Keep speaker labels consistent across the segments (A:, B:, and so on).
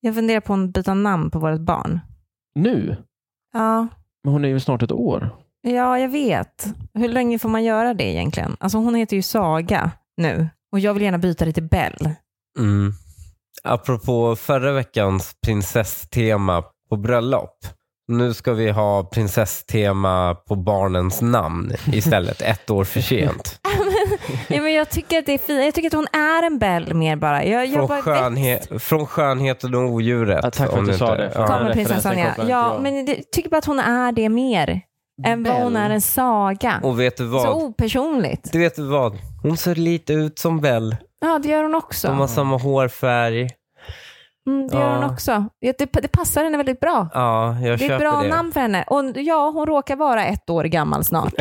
A: Jag funderar på att byta namn på vårt barn.
B: Nu?
A: Ja,
B: Men hon är ju snart ett år.
A: ja jag vet. Hur länge får man göra det egentligen? Alltså hon heter ju Saga nu och jag vill gärna byta det till Bell.
C: Mm. Apropå förra veckans prinsesstema på bröllop. Nu ska vi ha prinsesstema på barnens namn istället, ett år för sent.
A: ja, men jag tycker att det är fint. Jag tycker att hon är en Bell mer bara. Jag, jag
C: Från,
A: bara växt.
C: skönhe- från skönheten och odjuret.
B: Ja, tack för
C: om
B: att du sa
C: inte-
B: det.
C: Ja.
B: Kom.
A: Kommer prinsessan
B: referensen
A: ja.
B: kopplar inte
A: ja
B: jag.
A: men jag tycker bara att hon är det mer än vad hon är en saga.
C: Och vet du
A: Så
C: vad?
A: opersonligt.
C: Du vet vad? Hon ser lite ut som Bell.
A: Ja, det gör hon också.
C: De har samma hårfärg.
A: Mm, det gör
C: Ja.
A: hon också. Ja, Det, det passar henne väldigt bra.
C: Ja, jag
A: Det är
C: köper
A: ett bra
C: det.
A: namn för henne. Och ja, hon råkar vara ett år gammal snart.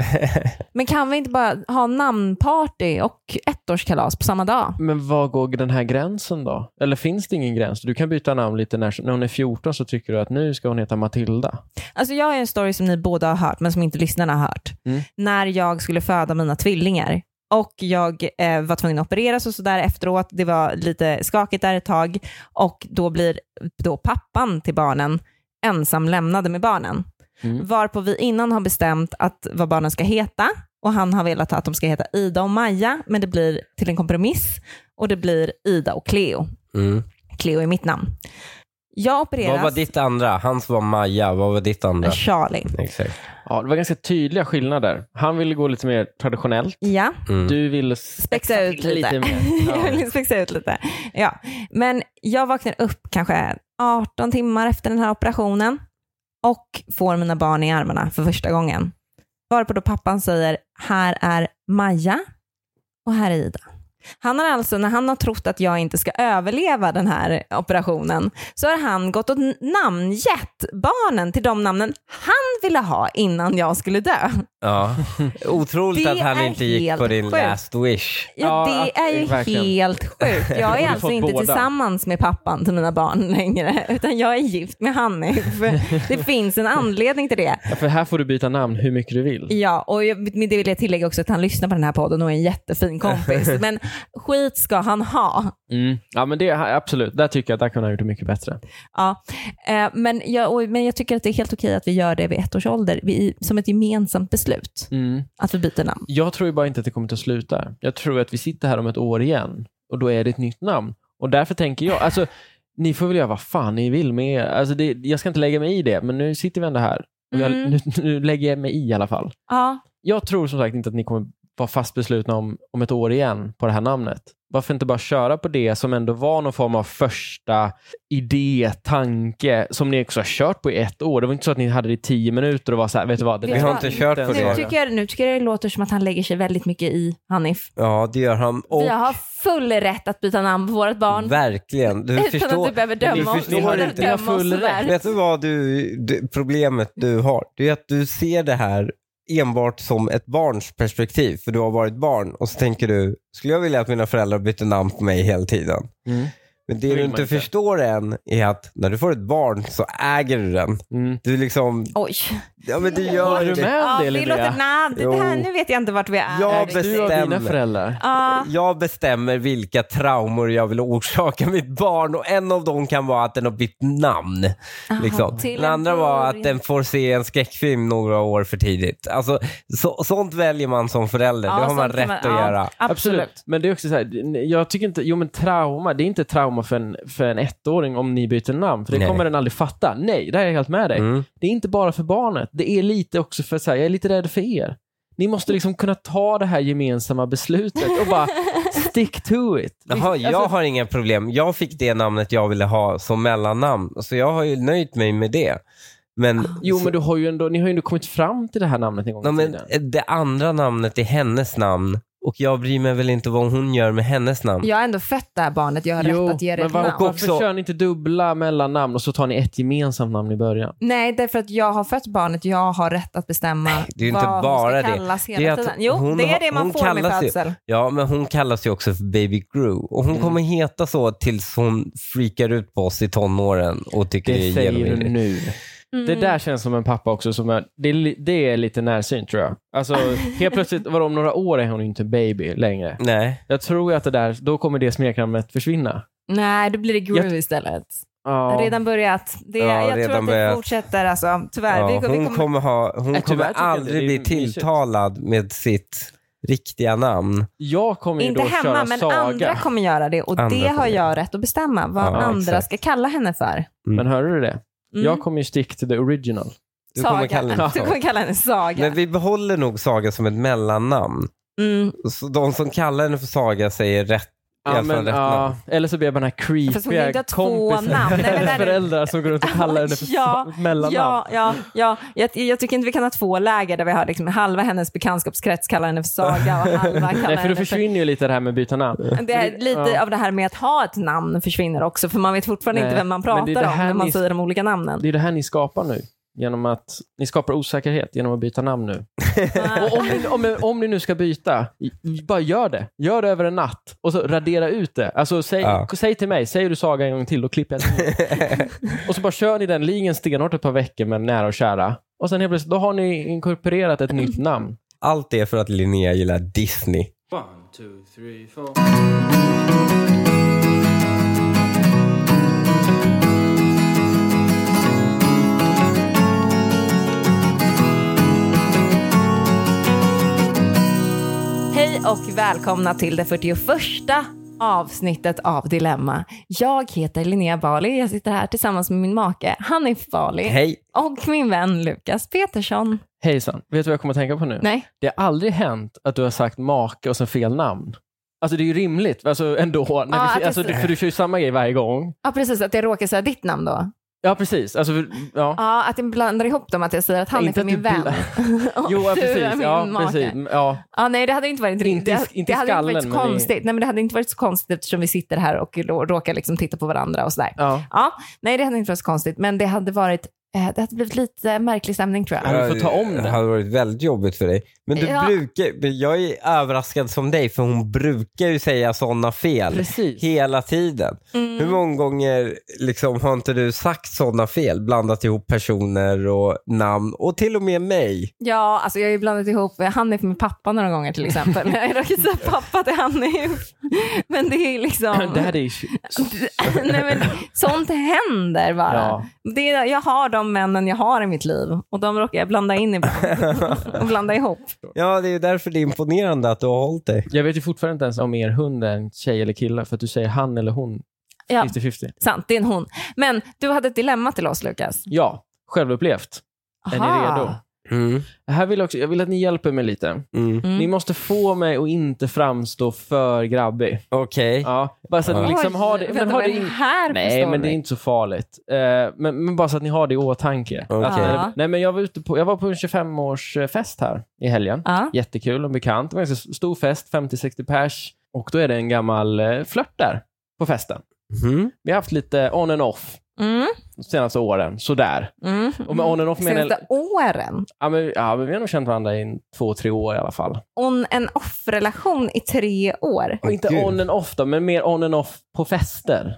A: Men kan vi inte bara ha namnparty och ettårskalas på samma dag?
B: Men var går den här gränsen då? Eller finns det ingen gräns? Du kan byta namn lite när, när hon är 14 så tycker du att nu ska hon heta Matilda.
A: Alltså jag har en story som ni båda har hört, men som inte lyssnarna har hört.
B: Mm.
A: När jag skulle föda mina tvillingar och jag eh, var tvungen att opereras och sådär efteråt. Det var lite skakigt där ett tag och då blir då pappan till barnen ensam lämnade med barnen.
B: Mm.
A: Varpå vi innan har bestämt att vad barnen ska heta och han har velat att de ska heta Ida och Maja, men det blir till en kompromiss och det blir Ida och Cleo.
C: Mm.
A: Cleo är mitt namn. Jag opereras...
C: Vad var ditt andra? Hans var Maja. Vad var ditt andra?
A: Charlie.
C: Exakt.
B: Ja, det var ganska tydliga skillnader. Han ville gå lite mer traditionellt.
A: Ja.
C: Mm.
B: Du ville
A: spexa ut
B: till
A: lite.
B: lite mer. Ja.
A: jag vill spexa ut lite. Ja. Men jag vaknar upp kanske 18 timmar efter den här operationen och får mina barn i armarna för första gången. Varpå då pappan säger, här är Maja och här är Ida. Han har alltså, när han har trott att jag inte ska överleva den här operationen, så har han gått och namngett barnen till de namnen han ville ha innan jag skulle dö.
C: Ja. Otroligt
A: Det
C: att han
A: är
C: inte gick på
A: helt
C: din
A: sjukt.
C: last wish.
A: Ja,
B: Ja,
A: det är ju
B: verkligen.
A: helt sjukt. Jag
B: Hon
A: är
B: har
A: alltså
B: fått
A: inte
B: båda.
A: tillsammans med pappan till mina barn längre, utan jag är gift med Hanif. Det finns en anledning till det.
B: Ja, för här får du byta namn hur mycket du vill.
A: Ja, och jag- med det vill jag tillägga också att han lyssnar på den här podden och är en jättefin kompis. Men skit ska han ha.
B: Mm. Ja, men det, absolut. Där tycker jag att där kunde han ha gjort det mycket bättre.
A: Ja, eh, men, jag, och- men jag tycker att det är helt okej att vi gör det vid ett års ålder, vi, som ett gemensamt beslut,
B: Mm.
A: att vi byter namn.
B: Jag tror ju bara inte att det kommer att sluta. Jag tror att vi sitter här om ett år igen och då är det ett nytt namn. Och därför tänker jag, alltså ni får väl göra vad fan ni vill med er. Alltså, det, jag ska inte lägga mig i det, men nu sitter vi ändå här. Och jag,
A: Mm.
B: nu, nu lägger jag mig i i alla fall.
A: Ja,
B: Jag tror som sagt inte att ni kommer vara fast beslutna om, om ett år igen på det här namnet. Varför inte bara köra på det som ändå var någon form av första idé, tanke, som ni också har kört på i ett år. Det var inte så att ni hade det i tio minuter och var så här, vet du vad? Det
A: Vi
B: där
A: har
B: var
A: inte
C: kört på
B: ens
C: det.
A: nu
B: bra."
C: jag.
A: tycker, jag, nu tycker jag det låter som att han lägger sig väldigt mycket i Hanif.
C: Ja, det gör han. Och
A: Vi har full rätt att byta namn på vårt barn.
C: verkligen. Du
A: Utan
C: förstår.
A: att du behöver
B: ni
A: döma oss.
B: förstår
C: inte.
A: inte.
B: Ni har
A: Döma oss
B: full
A: sådär.
C: Vet du vad du, du, problemet du har? Det är att du ser det här enbart som ett barns perspektiv, för du har varit barn och så tänker du, skulle jag vilja att mina föräldrar bytte namn på mig hela tiden?
B: Mm.
C: Men det
B: Det
C: du
B: vill
C: inte,
B: man inte.
C: förstår än är att när du får ett barn så äger du den.
B: Mm.
C: Du liksom,
A: Oj.
C: ja men du gör
B: Håller du
C: det.
B: med om
A: Ja,
B: det,
A: det
B: Linnea?
A: låter, nej, det här,
C: Jo.
A: nu vet jag inte vart vi är.
C: Jag
A: riktigt.
B: Ägs du av dina
C: bestämmer.
B: föräldrar?
A: Ja,
C: Jag bestämmer vilka traumor jag vill orsaka mitt barn och en av dem kan vara att den har bytt namn. Liksom.
A: till
C: Den andra
A: en
C: var
A: början.
C: att den får se en skräckfilm några år för tidigt. Alltså, så, sånt väljer man som förälder.
A: Ja,
C: det har man
A: sånt kan
C: rätt
A: man-
C: att
A: ja,
C: göra.
A: Absolut.
B: Men det är också så här, jag tycker inte, jo men trauma, det är inte trauma för en, för en ettåring om ni byter namn, för det
C: Nej.
B: kommer den aldrig fatta. Nej, där är jag helt med dig.
C: Mm.
B: Det är inte bara för barnet, det är lite också för, så här, jag är lite rädd för er. Ni måste liksom kunna ta det här gemensamma beslutet och bara stick to it. alltså,
C: Jaha, jag har inga problem. Jag fick det namnet jag ville ha som mellannamn, så jag har ju nöjt mig med det. Men,
A: Ah,
B: Jo, men du har ju ändå, ni har ju ändå kommit fram till det här namnet en gång i
C: Ja, men
B: tiden.
C: det andra namnet är hennes namn och jag bryr mig väl inte vad hon gör med hennes namn.
A: Jag har ändå fött det här barnet, jag har
B: Jo,
A: rätt att ge det
B: men
A: ett
B: var,
A: namn.
B: varför
C: Också-
B: kör ni inte dubbla mellannamn och så tar ni ett gemensamt namn i början?
A: Nej, därför att jag har fött barnet, jag har rätt att bestämma
C: det är ju inte
A: vad
C: bara
A: hon
C: det.
A: ska kallas
C: Det är
A: hela
C: att
A: tiden. Jo,
C: hon
A: det
C: har-
A: är det man
C: hon
A: får med
C: kallas ju-
A: födsel.
C: Ja, men hon kallas ju också för Baby Gru och
B: Mm.
C: hon kommer heta så tills hon freakar ut på oss i tonåren och tycker det,
B: Det
C: är
B: säger du
C: genomskinligt.
B: nu.
A: Mm.
B: Det där känns som en pappa också. Som är, det, är li- det är lite närsynt tror jag. Alltså, helt plötsligt, var om några år är hon ju inte baby längre.
C: Nej.
B: Jag tror ju att det där, då kommer det smeknamnet försvinna.
A: Nej, då blir det Gru
B: Jag-
A: istället.
B: Ja.
A: Redan börjat. Det,
C: Ja,
A: jag tror
C: redan
A: att det
C: börjat.
A: fortsätter alltså. Tyvärr.
C: Ja,
A: vi, vi
C: hon
A: kommer,
C: kommer, ha, hon
B: Nej, tyvärr
C: kommer
B: tycker jag inte det
C: aldrig
B: är
C: bli
B: mysigt.
C: tilltalad med sitt riktiga namn.
B: Jag kommer ju
A: inte
B: då
A: hemma,
B: köra
A: men
B: Saga.
A: andra kommer göra det och
C: Andra
A: det har
C: kommer göra
A: jag rätt att bestämma vad
C: Ja,
A: andra
C: exakt.
A: ska kalla henne för.
B: Men hörde du det?
A: Mm.
B: Jag kommer ju stick to the original.
C: Du
A: Saga.
C: kommer kalla henne
A: du
C: Saga.
A: kommer kalla henne Saga.
C: Men vi behåller nog Saga som ett mellannamn.
A: Mm.
C: Så de som kallar henne för Saga säger rätt. I alla
B: Ja,
C: fall
B: men,
C: rätt
B: ja. Eller så blir jag bara den här
A: Fast hon kan ju
B: creepiga
A: inte ha två namn. Nej, men där-
B: kompisen föräldrar som går runt och kallar henne för
A: Ja,
B: ja, mellannamn.
A: Ja, ja, ja. Jag, jag tycker inte vi kan ha två läger där vi har liksom halva hennes bekantskapskrets kallar henne för Saga och halva kallar
B: Nej, för då
A: henne
B: försvinner ju lite det här med att byta namn.
A: Det är lite
B: Ja.
A: av det här med att ha ett namn försvinner också, för man vet fortfarande
B: Nej,
A: inte vem man
B: men det är
A: pratar
B: det
A: om
B: här
A: när man
B: ni-
A: säger de olika namnen.
B: Det är det här ni skapar nu. Genom att ni skapar osäkerhet genom att byta namn nu. Och om, ni, om, om ni nu ska byta, i- bara gör det. Gör det över en natt och så radera ut det. Alltså, säg,
C: Ja.
B: säg till mig, säger du Saga en gång till, då klipper jag till. Och så bara kör ni den linjen stenhårt ett par veckor med nära och kära. Och sen helt plötsligt, då har ni inkorporerat ett nytt namn.
C: Allt det för att Linnea gillar Disney.
D: One, two, three, four.
A: Hej och välkomna till det 41 avsnittet av Dilemma. Jag heter Linnea Bali, jag sitter här tillsammans med min make Hanif
B: Eh,
A: Bali
C: Hej!
A: och min vän Lukas Petersson.
B: Hejsan, vet du vad jag kommer att tänka på nu?
A: Nej,
B: Det har aldrig hänt att du har sagt make och sen fel namn. Alltså det är ju rimligt alltså, ändå. När
A: Ja,
B: vi,
A: att
B: alltså,
A: det-
B: du- för du kör ju samma grej varje gång.
A: ja precis, att jag råkar säga ditt namn då.
B: Ja, precis. Alltså, för- ja.
A: Ja, att jag blandar ihop dem, att jag säger att han
B: Inte
A: är
B: att
A: min
B: du
A: vän. och
B: Jo, ja,
A: du
B: precis.
A: är min
B: ja,
A: make.
B: precis. Ja.
A: Ja, nej, det hade inte varit
B: Inte i-
A: det,
B: inte
A: det
B: i
A: hade inte varit
B: skallen,
A: så
B: men det-
A: konstigt. Nej, men det hade inte varit så konstigt eftersom vi sitter här och rå- råkar liksom titta på varandra och sådär.
B: Ja.
A: Ja, nej, det hade inte varit så konstigt, men det hade varit eh, det hade blivit lite märklig stämning tror jag.
B: Ja, du får ta om det.
C: Det hade varit väldigt jobbigt för dig. Men du
A: Ja.
C: brukar, men jag är överraskad som dig för hon brukar ju säga sådana fel.
B: Precis.
C: Hela tiden.
A: Mm.
C: Hur många gånger liksom, har inte du sagt sådana fel? Blandat ihop personer och namn och till och med mig.
A: Ja, alltså jag har ju blandat ihop eh, Hanif med pappa några gånger till exempel. jag har råkat säga pappa till Hanif. Men det är ju liksom...
B: Det här är ju-
A: nej, men, sånt händer bara.
B: Ja.
A: Det är, jag har de männen jag har i mitt liv och de råkar jag blanda in ibland och blanda ihop.
C: Ja, det är ju därför det är imponerande att du har hållit dig.
B: Jag vet ju fortfarande inte ens om er hund är en tjej eller kille för att du säger han eller hon
A: Ja,
B: 50-50.
A: sant. Det är en hon. Men du hade ett dilemma till oss, Lukas.
B: Ja, självupplevt. Är ni
A: Aha.
B: redo? Mm, Här vill jag, också, jag vill att ni hjälper mig lite.
C: Mm.
A: Mm.
B: Ni måste få mig att inte framstå för grabbig.
C: Okej.
B: Ja, bara så att ni
C: Ja.
B: liksom har det.
A: Oj,
B: Men
A: vänta,
B: har det
A: men
B: in-
A: här
B: Nej,
A: förstår
B: men det är
A: vi.
B: inte så farligt. Eh, men, men bara så att ni har det i åtanke.
C: Okej.
B: Att-
A: Ja.
B: Nej, men jag, var ute på, jag var på en 25-årsfest här i helgen.
A: Ja.
B: Jättekul och bekant. Det var en ganska stor fest, 50-60 pers. Och då är det en gammal eh, flört där på festen.
C: Mm.
B: Vi har haft lite on and off
A: Mm,
B: de senaste åren, sådär.
A: mm.
B: Och med on and off menar jag...
A: Senaste åren.
B: Ja, men, ja, men vi har nog känt varandra i en, två, tre år i alla fall.
A: On en off-relation i tre år.
B: Och inte
C: Gud.
B: on and off då, men mer on and off på fester.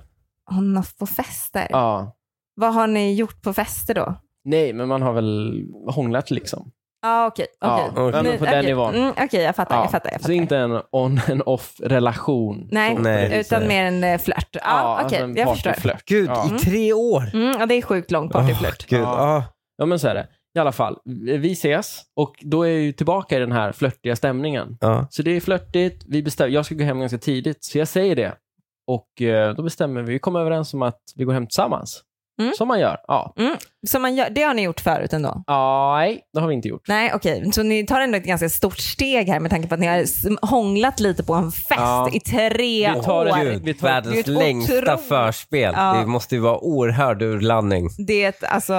A: On off på fester.
B: Ja.
A: Vad har ni gjort på fester då?
B: Nej, men man har väl hånglat liksom.
A: Ja, okej.
B: Ja,
A: okej.
C: okej.
B: men
A: Nu-
B: på den
A: okej.
B: nivån.
A: Mm, okej, jag fattar.
B: Ja,
A: Jag fattar, jag fattar.
B: Så inte en on and off relation.
A: Nej,
B: så,
C: Nej.
A: utan mer en eh, flört. Ja, okej.
B: alltså en
A: jag förstår.
B: partyflört.
C: Gud,
B: Ja.
C: i tre år?
A: Mm, ja, det är sjukt lång partyflört.
C: Gud,
B: Ja.
C: ah.
B: ja, men så är det. I alla fall, vi ses och då är jag ju tillbaka i den här flörtiga stämningen.
C: Ja.
B: Så det är flörtigt. Vi bestäm- jag ska gå hem ganska tidigt, så jag säger det. Och eh, då bestämmer vi. Vi kommer överens om att vi går hem tillsammans.
A: Mm.
B: Som man gör. Ja.
A: Så man gör, det har ni gjort förut ändå?
B: Nej, det har vi inte gjort.
A: Nej, okej. Så ni tar ändå ett ganska stort steg här med tanke på att ni har s- hånglat lite på en fest
B: Ja.
A: i tre
B: Vi tar
A: år.
B: ett-
C: Gud,
B: vi tar-
A: det är
C: världens
A: ett
C: längsta
A: otroligt-
C: förspel.
A: Ja.
C: Det måste ju vara oerhörd urladdning.
A: Det är ett, alltså,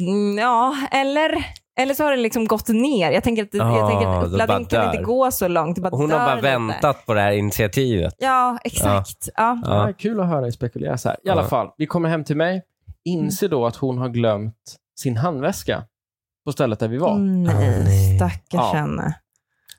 A: mm, ja, eller, eller så har det liksom gått ner. Jag tänker att, jag
C: Ah,
A: tänker
C: det
A: att
C: bara
A: uppladdningen kan
C: dör.
A: inte gå så långt. Det bara
C: Hon har
A: dör
C: bara
A: lite.
C: väntat på det här initiativet.
A: Ja, exakt. Ja.
C: Ja.
B: Ja, kul att höra er spekulera så här. I alla
C: Ja.
B: fall, vi kommer hem till mig. Inser då att hon har glömt sin handväska på stället där vi var.
A: Mm, Nej,
C: nej.
A: stackars
B: Ja.
A: henne.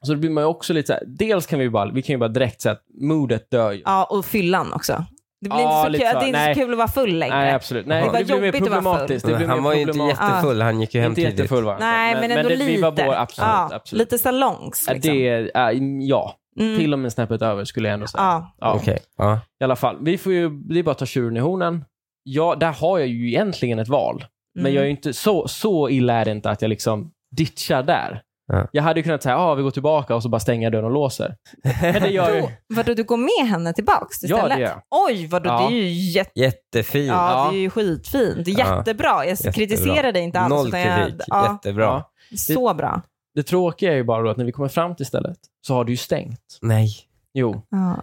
B: Så då blir man ju också lite så här, dels kan vi ju bara, vi kan ju bara direkt säga att modet dör ju.
A: Ja, och fyllan också. Det blir
B: Ja,
A: inte, så
B: lite
A: kul,
B: så.
A: det är inte
B: Nej.
A: så kul att vara full längre.
B: Nej, absolut. Nej,
A: Det var
B: det, blir mer
A: jobbigt att vara
B: problematiskt. Det blir mer
C: Han var ju inte
B: problematiskt.
C: jättefull, han gick ju hem
B: Inte
C: tidigt.
B: jättefull va?
A: Nej, men, ändå
B: det,
A: lite.
B: Vi var båda, absolut.
A: ja,
B: absolut.
A: Lite salongs.
B: Ja,
A: Liksom.
B: Det, är- äh, ja,
A: Mm.
B: till och med snäppet över skulle jag ändå säga.
A: ja.
B: Ja,
C: Okej. Ja.
B: I alla fall, vi får ju, det är bara att ta tjuren i hornen. ja, där har jag ju egentligen ett val.
A: Mm.
B: Men jag är ju inte, så, så illa är det inte att jag liksom ditchar där.
C: Ja.
B: Jag hade ju kunnat säga, ah, vi går tillbaka och så bara stänga dörren och låser. Men det gör jag ju.
A: Då, vadå, du går med henne tillbaks
B: Ja,
A: istället?
B: det gör jag.
A: Oj, vadå,
B: Ja.
A: det är ju jätte...
C: Jättefin.
A: Ja, det är ju skitfint. Det är
C: Ja.
A: Jättebra. Jag
C: Jättebra.
A: kritiserar dig inte alls.
C: Noll
A: utan jag-
C: kritik.
A: Ja,
C: Jättebra.
B: Ja.
A: så bra.
B: Det tråkiga är ju bara då att när vi kommer fram till stället så har du ju stängt.
C: Nej.
B: Jo.
A: Ja.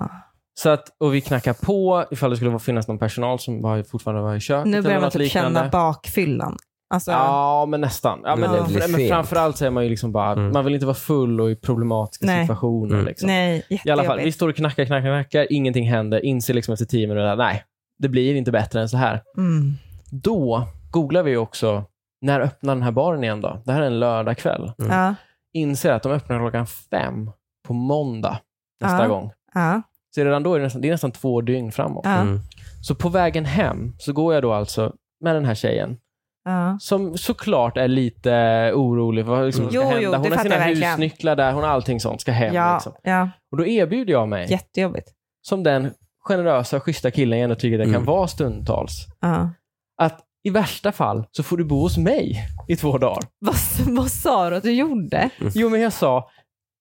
B: Så att, och vi knackar på ifall det skulle vara- finnas någon personal som var, fortfarande var i köket
A: Nu
B: eller
A: börjar man
B: något
A: typ
B: liknande.
A: känna bakfyllan. Alltså,
B: Ja, men nästan. Ja, men,
A: Men det
B: fr-
C: blir
B: men
C: sent.
B: framförallt så är man ju liksom bara,
C: Mm.
B: man vill inte vara full och i problematiska
A: Nej.
B: situationer.
C: Mm.
B: Liksom.
A: nej,
B: I alla fall, vi
A: jättejobbigt.
B: står och knackar, knackar, knackar. Ingenting händer. Inser liksom efter tio minuter, nej, det blir inte bättre än så här.
A: Mm.
B: Då googlar vi också, när öppnar den här baren igen då? Det här är en lördagkväll.
A: Ja,
B: Inser att de öppnar klockan fem på måndag nästa
A: Ja.
B: gång.
A: ja,
B: Så redan då är det nästan, det är nästan två dygn framåt.
A: ja,
C: Mm.
B: Så på vägen hem så går jag då alltså med den här tjejen
A: ja.
B: som såklart är lite orolig för vad liksom, som ska
A: Jo, jo,
B: hända. Hon
A: det
B: har sina
A: fattar jag verkligen.
B: husnycklar där, hon har allting sånt, ska hem.
A: Ja,
B: Liksom.
A: ja,
B: Och då erbjuder jag mig,
A: jättejobbigt.
B: som den generösa och schyssta killen jag ändå tycker att jag
C: Mm.
B: kan vara stundtals,
A: Ja.
B: att i värsta fall så får du bo hos mig i två dagar.
A: Vad, vad sa du att du gjorde?
C: Mm.
B: Jo, men jag sa,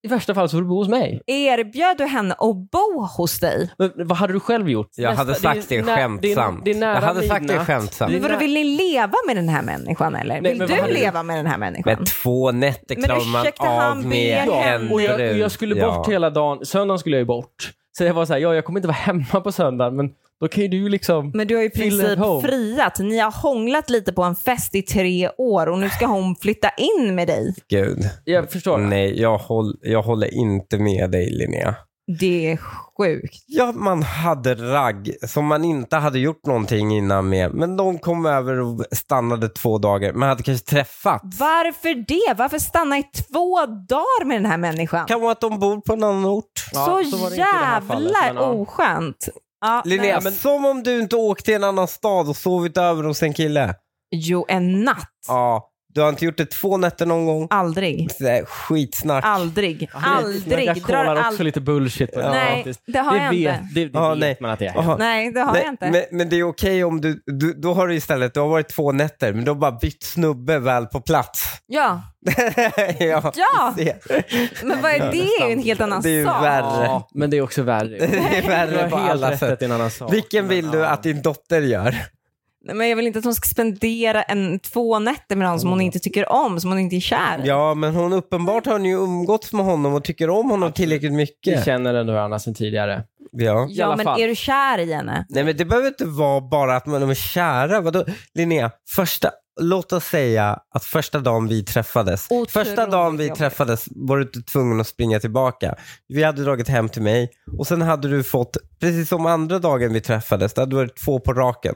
B: i värsta fall så får du bo hos mig.
A: Erbjöd du henne att bo hos dig?
B: Men vad hade du själv gjort?
C: Jag hade
B: Nästa-
C: sagt det
B: är nä-
C: skämtsamt.
B: Det är, det är nära
C: Jag hade sagt det
B: midnatt.
C: skämtsamt.
B: Det är
A: Men vadå,
B: nä-
A: vill ni leva med den här människan eller?
B: Nej,
A: Vill
B: men vad
A: du
B: hade du-
A: leva med den här människan?
C: Men två nätter
A: Men
C: klarar man
A: ursäkta,
C: av
A: han
C: med
A: ber
B: Ja,
C: en
B: och jag, och
C: brud.
B: jag skulle bort
C: ja.
B: hela dagen. Söndagen skulle jag ju bort. Så jag var så här, ja, jag kommer inte vara hemma på söndagen, men då kan ju du liksom...
A: Men du har ju i
B: Fill at
A: princip
B: home.
A: friat. Ni har hånglat lite på en fest i tre år och nu ska hon flytta in med dig.
C: Gud.
B: Jag förstår.
C: Nej, jag, håll, jag håller inte med dig Linnea.
A: Det är sjukt.
C: Ja, man hade ragg som man inte hade gjort någonting innan med. Men de kom över och stannade två dagar. Man hade kanske träffats.
A: Varför det? Varför stanna i två dagar med den här människan?
C: Kan vara att de bor på en annan ort.
B: Ja,
A: så
B: så var det inte i det här
A: jävla
B: fallet, men ja.
A: oskönt. Ja,
C: Linnea,
A: nej.
C: som om du inte åkte till en annan stad och sovit över hos en kille.
A: Jo, en natt.
C: Ja, du har inte gjort det två nätter någon gång.
A: Aldrig.
C: Så där, Skitsnack.
A: Aldrig.
B: Men Jag
A: Aldrig. Drar
B: kollar också
A: aldrig.
B: lite bullshit. på det,
A: Nej,
B: faktiskt.
A: det har
B: det
A: jag
B: vet,
A: inte.
B: det, det
C: Ja,
B: vet
C: nej.
B: man att jag
C: Aha.
B: gör.
A: Nej, det har
C: Nej,
A: jag inte.
C: Men, men det är okej om du, du, då har du istället, du har varit två nätter, men du har bara bytt snubbe väl på plats.
A: Ja,
C: ja,
A: Ja.
C: du ser.
A: men vad är det? Det är ju en helt annan
C: Det är ju
A: sak.
C: värre.
B: Ja, men det är också värre.
C: Det är
B: Du
C: värre på
B: har helt
C: alla
B: rätt att
C: sätt.
B: det är en annan sak.
C: Vilken vill
B: Men,
C: du
B: ja.
C: att din dotter gör?
A: Nej, Men jag vill inte att hon ska spendera en, två nätter med någon som hon inte tycker om, som hon inte är kär i.
C: Mm. Ja, men hon uppenbart har ni ju umgåtts med honom och tycker om honom tillräckligt
B: Vi
C: mycket.
B: känner ändå varandra sedan tidigare.
C: Ja.
B: alla
A: Ja, men
B: fall.
A: är du kär i henne?
C: Nej, men det behöver inte vara bara att man är kära. Vadå? Linnea, första, låt oss säga att första dagen vi träffades,
A: Otroligt
C: första dagen vi
A: jobbigt.
C: träffades var du inte tvungen att springa tillbaka. Vi hade dragit hem till mig och sen hade du fått, precis som andra dagen vi träffades, det hade varit två på raken.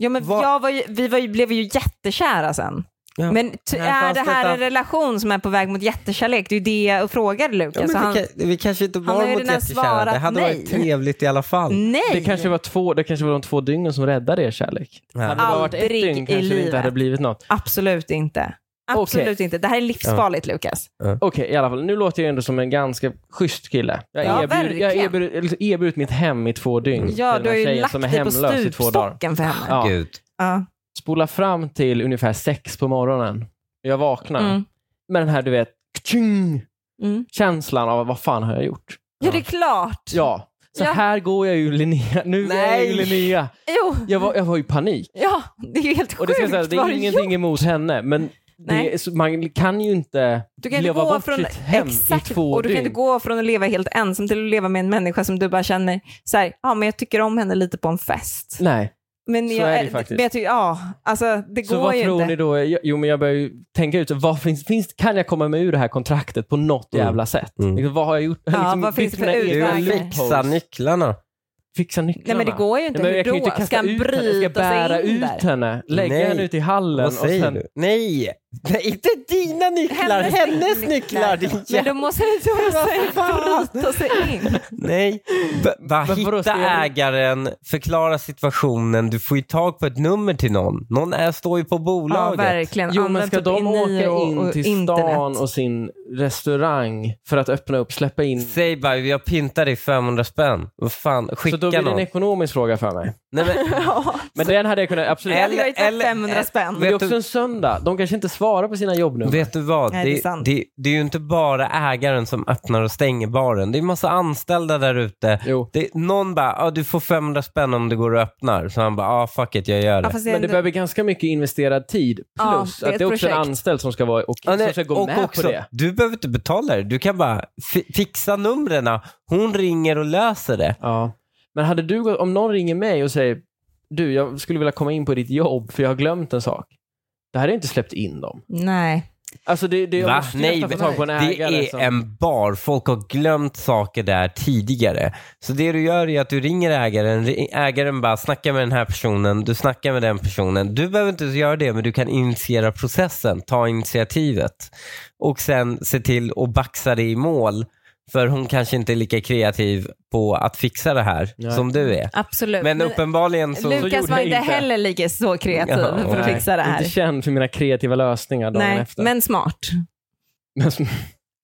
A: Ja, men
C: Vad-
A: jag var ju, vi var ju, blev ju jättekära sen.
C: Ja.
A: Men t-
C: Här
A: är
C: fanns
A: det
C: det
A: här
C: ett
A: en
C: an-
A: relation som är på väg mot jättekärlek? Det är ju det jag frågade
C: Ja,
A: Lukas.
C: men
A: Så han,
C: vi, kan, vi kanske inte
A: har
C: var
A: ju
C: mot
A: redan
C: jättekära. Det
A: svarat
C: hade
A: nej. Mm.
C: varit trevligt i alla fall.
A: Nej!
B: Det kanske, var två, det kanske var de två dygnen som räddade er kärlek.
C: Ja.
B: Hade det bara varit ett
A: Aldrig i
B: dygn kanske det
A: livet.
B: inte hade blivit något.
A: Absolut inte. Absolut inte. Det här är livsfarligt Lukas.
B: Okej, i alla fall. Nu låter jag ändå som en ganska schysst kille. Jag
A: Ja,
B: erbjuder, jag
A: verkligen.
B: erbjuder, eller liksom erbjudit mitt hem i två dygn till
A: Ja,
B: den
A: du har
B: här
A: ju
B: tjejen
A: lagt
B: som är
A: dig på
B: hemlös i två dagar.
A: stupstocken för henne.
B: Ja.
C: Gud.
A: Ja.
B: Spola fram till ungefär sex på morgonen. Jag vaknar
A: Mm.
B: med den här, du vet, kting,
A: Mm.
B: känslan av vad fan har jag gjort?
A: ja, det är klart.
B: Ja, så
A: Ja.
B: här går jag ju Linnea. Nu är jag ju
C: Nej.
B: Linnea.
A: Jo,
B: Jag var, jag var i panik.
A: ja, det är ju helt
B: Och
A: sjukt.
B: det, ska jag säga, det
A: Vad har
B: är
A: du
B: ingenting emot henne, men
A: Nej.
B: det, är- så man kan ju inte
A: Du kan inte
B: leva
A: gå
B: bort
A: från,
B: sitt hem
A: exakt,
B: i två
A: och du kan
B: dygn.
A: inte gå från att leva helt ensam till att leva med en människa som du bara känner, så här, ja men jag tycker om henne lite på en fest.
B: Nej.
A: Men
B: Så
A: jag,
B: är det ju faktiskt.
A: Men jag tycker, ja, alltså det
B: Så
A: går
B: vad
A: ju
B: tror
A: inte.
B: ni då? Jag- Jo, men jag börjar ju tänka ut, vad finns, finns, kan jag komma mig ur det här kontraktet på något
C: Mm.
B: jävla sätt?
C: Mm.
B: Liksom, vad har jag gjort?
A: Ja,
B: liksom,
A: vad finns
B: byggt
A: det för
B: mina egna
A: utvägar?
B: loopholes.
C: Fixa nycklarna.
B: Fixa nycklarna.
A: Nej men det går ju
B: Nej,
A: inte.
B: men jag kan ju
A: Hur
B: inte
A: då?
B: kasta
A: Ska han
B: ut henne, jag ska
A: bryta
B: bära
A: sig in
B: ut
A: där?
B: henne, lägga
C: Nej.
B: henne ute i hallen
C: Vad säger
B: och sen
C: du? Nej,
E: Nej, inte dina nycklar,
A: Hennes
E: hennes
A: nycklar.
E: nycklar, din
A: Men
E: jävla...
A: då måste du ta sig ut och sig in.
E: Nej.
C: B- bara
B: Men vadå,
C: hitta
B: ska jag-
C: ägaren, förklara situationen, du får ju tag på ett nummer till någon. Någon är, står ju på
A: Ja,
C: bolaget.
A: verkligen.
B: Jo,
A: Använd
B: men ska
A: typ
B: de
A: Eniro
B: åka in
A: och
B: till stan
A: internet.
B: och sin restaurang för att öppna upp, släppa in?
C: Säg bara, jag pintar dig 500 spänn. Vad fan,
B: Så
C: skicka
B: då blir det en
C: någon.
B: ekonomisk fråga för mig.
C: Nej, men,
A: Ja,
B: Men den hade jag kunnat, absolut.
A: det hade
C: Eller-
A: varit typ
C: eller-
A: 500 spänn.
B: Men det är
C: vet
B: också
C: du-
B: en söndag. De kanske inte svarar på sina jobbnummer.
C: Vet du vad?
A: Nej, det är sant.
C: det, det är ju inte bara ägaren som öppnar och stänger baren. Det är massa anställda där ute.
B: Jo.
C: Det- Någon bara, ah, du får 500 spänn om du går och öppnar. Så han bara, ah, fuck it, jag gör det.
A: Ja, fast
B: Men det
A: ändå-
B: behöver ganska mycket investerad tid. Plus
A: Ja, det är
B: att
A: ett
B: det är också en
A: projekt.
B: anställd som ska, vara, och,
C: Ja,
B: som
C: nej,
B: ska gå
C: och
B: med
C: också,
B: på det.
C: Du behöver inte betala det. Du kan bara fi- fixa numren. Hon ringer och löser det.
B: Ja. Men hade du, gått- om någon ringer mig och säger du, jag skulle vilja komma in på ditt jobb för jag har glömt en sak. Det här är inte släppt in dem.
A: Nej.
B: Alltså det, det jag
C: Va?
B: måste ju
C: Nej,
B: nästan få tag på en
C: Det
B: ägare. liksom.
C: är
B: som,
C: en bar. Folk har glömt saker där tidigare. Så det du gör är att du ringer ägaren. Ri- Ägaren bara snackar med den här personen. Du snackar med den personen. Du behöver inte göra det, men du kan initiera processen. Ta initiativet. Och sen se till att baxa det i mål. För hon kanske inte är lika kreativ på att fixa det här
B: Nej.
C: som du är.
A: Absolut.
C: Men uppenbarligen så...
B: så
A: Lukas
B: gjorde
A: var
B: jag
A: inte
B: inte.
A: heller lika så kreativ
C: Ja,
A: för att
B: Nej,
A: fixa det
B: Inte
A: här.
B: känd för mina kreativa lösningar dagen
A: Nej,
B: efter.
A: men smart.
B: Men,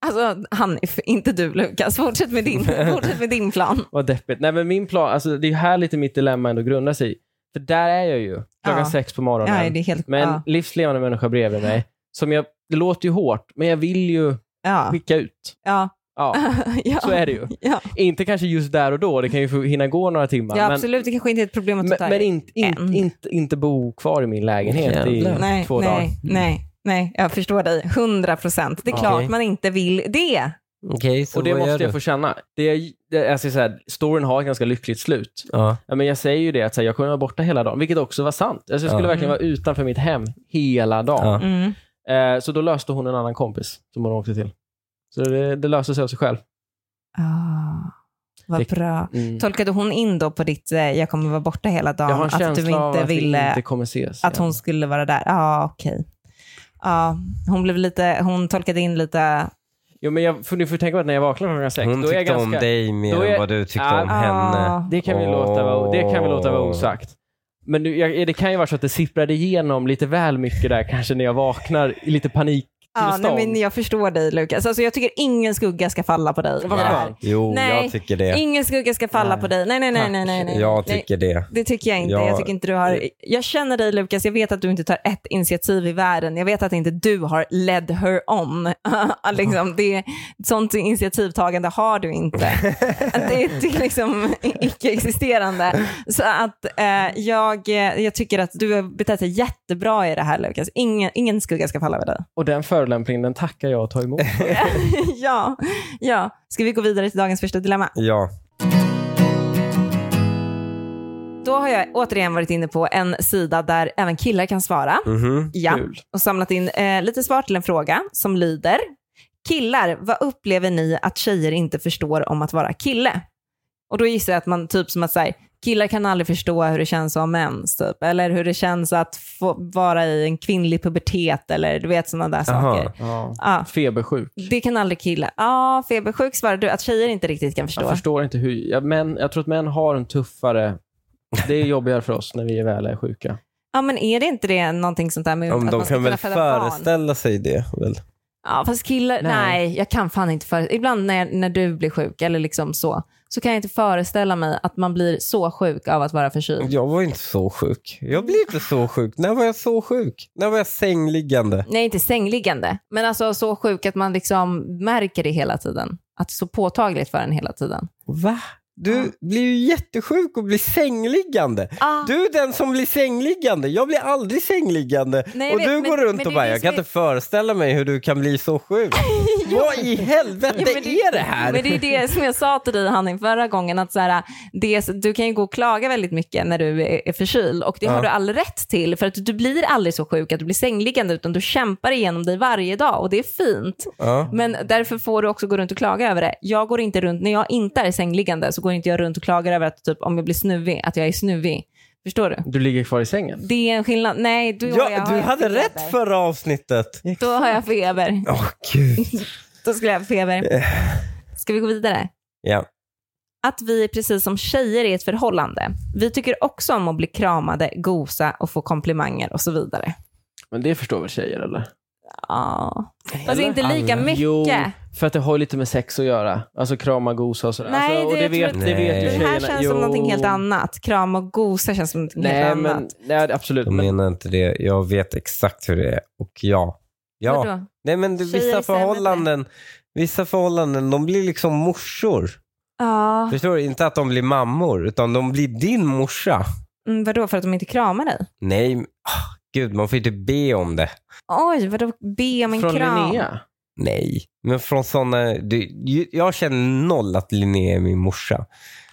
A: Alltså Hanif, inte du Lukas. Fortsätt med din, fortsätt med din plan.
B: Vad deppigt. Nej, men min plan, alltså, det är ju här lite mitt dilemma ändå grundar sig i. För där är jag ju, klockan
A: Ja.
B: sex på morgonen.
A: Nej, det är helt...
B: Men
A: ja.
B: livslevande människa bredvid mig. Som jag, det låter ju hårt, men jag vill ju
A: Ja.
B: skicka ut.
A: Ja.
B: Ja,
A: ja.
B: så är det ju.
A: Ja,
B: Inte kanske just där och då, det kan ju få- hinna gå några timmar.
A: ja
B: men
A: absolut. Det kanske inte är ett problem att ta
B: men,
A: tag i.
B: men inte,
A: Än.
B: inte, inte, inte bo kvar i min lägenhet i
C: Jävlar.
A: nej,
B: två
A: nej,
B: dagar.
A: Nej, nej, jag förstår dig. 100 procent. Det är
B: Ja.
A: klart
C: Okej.
A: man inte vill det.
C: Okej, så
B: Och det
C: vad gör
B: måste
C: du?
B: jag få känna. Det är, det, alltså, så här, storyn har ett ganska lyckligt slut.
C: Ja.
B: Ja, men jag säger ju det att så här, jag kommer vara borta hela dagen, vilket också var sant. Alltså, jag skulle
C: Ja.
B: verkligen vara utanför mitt hem hela dagen.
A: Mm.
B: Eh, så då löste hon en annan kompis som hon åkte till. Så det, det löste sig av sig själv.
A: Ah, vad
B: Det-
A: bra.
B: Mm.
A: Tolkade hon in då på ditt eh, jag kommer vara borta hela dagen,
B: Jag har en
A: att du
B: känsla av
A: inte
B: att vi
A: ville
B: inte kommer ses.
A: att
B: igen.
A: hon skulle vara där? Ja, okej. Ja, hon blev lite, hon tolkade in lite,
B: Jo, men jag, för, ni får tänka på att när jag vaknar klockan sex,
C: Hon
B: då är
C: tyckte
B: jag ganska...
C: om dig mer
B: då är-
C: än vad du tyckte
B: Ah.
C: om
A: Ah.
C: henne.
B: Det kan, vi låta vara, det kan vi låta vara osagt. Men nu, jag, det kan ju vara så att det sipprade igenom lite väl mycket där kanske när jag vaknar i lite panik.
A: ja, nej,
B: Tillstånd.
A: men jag förstår dig Lukas. Alltså, jag tycker ingen skugga ska falla på dig.
B: Vad
A: Här.
B: skönt.
C: Jo,
A: Nej.
C: jag tycker det.
A: Ingen skugga ska falla
B: Nej. typ.
A: på dig. Nej, nej, nej, nej, nej. nej.
C: Jag
A: nej.
C: tycker det.
A: Det tycker jag inte.
C: Jag-
A: Jag, tycker inte du har... jag känner dig Lukas, jag vet att du inte tar ett initiativ i världen. Jag vet att inte du har led her on. liksom, det, sånt initiativtagande har du inte. det, det är liksom icke-existerande. Så att eh, jag, jag tycker att du har betett dig jättebra i det här Lukas. Ingen, ingen skugga ska falla över dig.
B: Och den förolämpningen, den tackar jag och tar emot.
A: ja, ja. Ska vi gå vidare till dagens första dilemma?
C: Ja.
A: Då har jag återigen varit inne på en sida där även killar kan svara.
C: Mhm.
A: Ja,
B: Kul.
A: och samlat in eh, lite svar till en fråga som lyder. Killar, vad upplever ni att tjejer inte förstår om att vara kille? Och då gissar jag att man typ som att säga killar kan aldrig förstå hur det känns att ha mens, typ. eller hur det känns att få vara i en kvinnlig pubertet, eller du vet sådana där saker.
B: Ja.
A: Ja,
B: Febersjuk.
A: det kan aldrig killar. Ja, febersjuk svarar du, att tjejer inte riktigt kan förstå.
B: Jag förstår inte hur... Jag, män, jag tror att män har en tuffare... Det är jobbigare för oss när vi väl är sjuka.
A: Ja, men är det inte det någonting sånt där med
C: Om
A: att
C: de
A: man ska
C: kan väl
A: kunna föda barn?
C: föreställa sig det. Väl?
A: Ja, fast killar, nej.
B: Nej.
A: jag kan fan inte föreställa Ibland när, när du blir sjuk eller liksom så, så kan jag inte föreställa mig att man blir så sjuk av att vara förkyld.
C: Jag var inte så sjuk. Jag blev inte så sjuk. När var jag så sjuk? När var jag sängliggande?
A: Nej, inte sängliggande, men alltså så sjuk att man liksom märker det hela tiden. Att det är så påtagligt för en hela tiden.
C: Va? Du blir ju jättesjuk och blir sängliggande.
A: Ah.
C: Du är den som blir sängliggande. Jag blir aldrig sängliggande.
A: Nej,
C: och
A: jag
C: du
A: vet,
C: går
A: men-
C: runt
A: men
C: och
A: det är
C: bara,
A: det
C: jag
A: som
C: kan
A: är-
C: inte föreställa mig hur du kan bli så sjuk. Vad i helvete
A: Jo, men
C: är det här?
A: Men det är det som jag sa till dig Hanning förra gången, att så här, det, är så- du kan ju gå och klaga väldigt mycket när du är är förkyld och det har du all rätt till för att du blir aldrig så sjuk att du blir sängliggande utan du kämpar igenom dig varje dag och det är fint.
C: Ja.
A: Men därför får du också gå runt och klaga över det. Jag går inte runt, när jag inte är sängliggande så går inte jag runt och klagar över att typ, om jag blir snuvig, att jag är snuvig. Förstår du?
B: Du ligger kvar i sängen.
A: Det är en skillnad. Nej, du och jag
C: Ja,
A: har
C: du
A: ju
C: hade
A: feber.
C: rätt förra avsnittet.
A: Då har jag feber.
C: Åh gud.
A: Då skulle jag ha
C: Eh.
A: feber. Ska vi gå vidare?
C: Ja.
A: Att vi, precis som tjejer i ett förhållande, vi tycker också om att bli kramade, gosa och få komplimanger och så vidare.
B: Men det förstår väl tjejer eller?
A: Ja. Fast inte lika mycket.
B: Jo, för att det har ju lite med sex att göra. Alltså krama, gosa och sådär.
A: Nej,
B: alltså, och
A: det-
B: det
A: jag tror
B: vet,
A: att-
B: det vet ju
C: Nej.
A: Det här
B: tjejerna.
A: känns
B: jo.
A: som någonting helt annat. Kram och gosa känns som någonting helt
B: Nej,
A: annat.
B: men, nej, absolut.
C: Jag
B: Men,
C: menar inte det. Jag vet exakt hur det är. Och ja. Ja.
A: Vadå?
C: Nej men det,
A: Tjejer är sämre
C: vissa
A: på det.
C: förhållanden, vissa förhållanden, de blir liksom morsor.
A: Ja,
C: Förstår du? Inte att de blir mammor, utan de blir din morsa.
A: mm, vadå för att de inte kramar dig?
C: Nej, men- ah, gud man får inte be om det.
A: Oj, vadå be om en
B: från
A: kram?
B: Linnea.
C: Nej, men från sådana, du, ju- jag känner noll att Linnea är min morsa.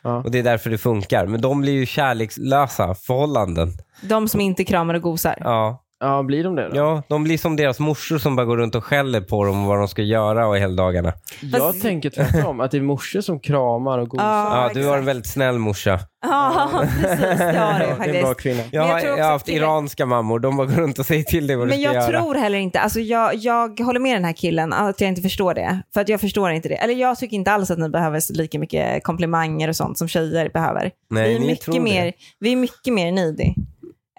B: Ja.
C: Och det är därför det funkar. Men de blir ju kärlekslösa förhållanden.
A: De som inte kramar och gosar?
C: Ja,
B: ja, blir de det då?
C: ja de blir som deras morsor som bara går runt och skäller på dem vad de ska göra och heldagarna.
B: Jag
A: Fast-
B: tänker tvärtom, att det är morsor som kramar och gosar.
A: Ja.
C: Ja, du har
A: exakt.
C: en väldigt snäll morsa.
A: Ja, precis. Det har
B: det
A: det
B: är en bra
A: faktiskt.
B: kvinna.
C: Jag,
A: Men jag
C: har,
A: tror
C: jag
A: också
C: har
A: att
C: haft
A: det är-
C: iranska mammor. De bara går runt och säger till dig vad
A: Men
C: du ska
A: jag
C: göra.
A: tror heller inte, alltså jag, jag håller med den här killen att jag inte förstår det. För att jag förstår inte det. Eller jag tycker inte alls att ni behöver så lika mycket komplimanger och sånt som tjejer behöver.
C: Nej,
A: vi, är
C: ni
A: mycket
C: tror det.
A: mer, vi är mycket mer needy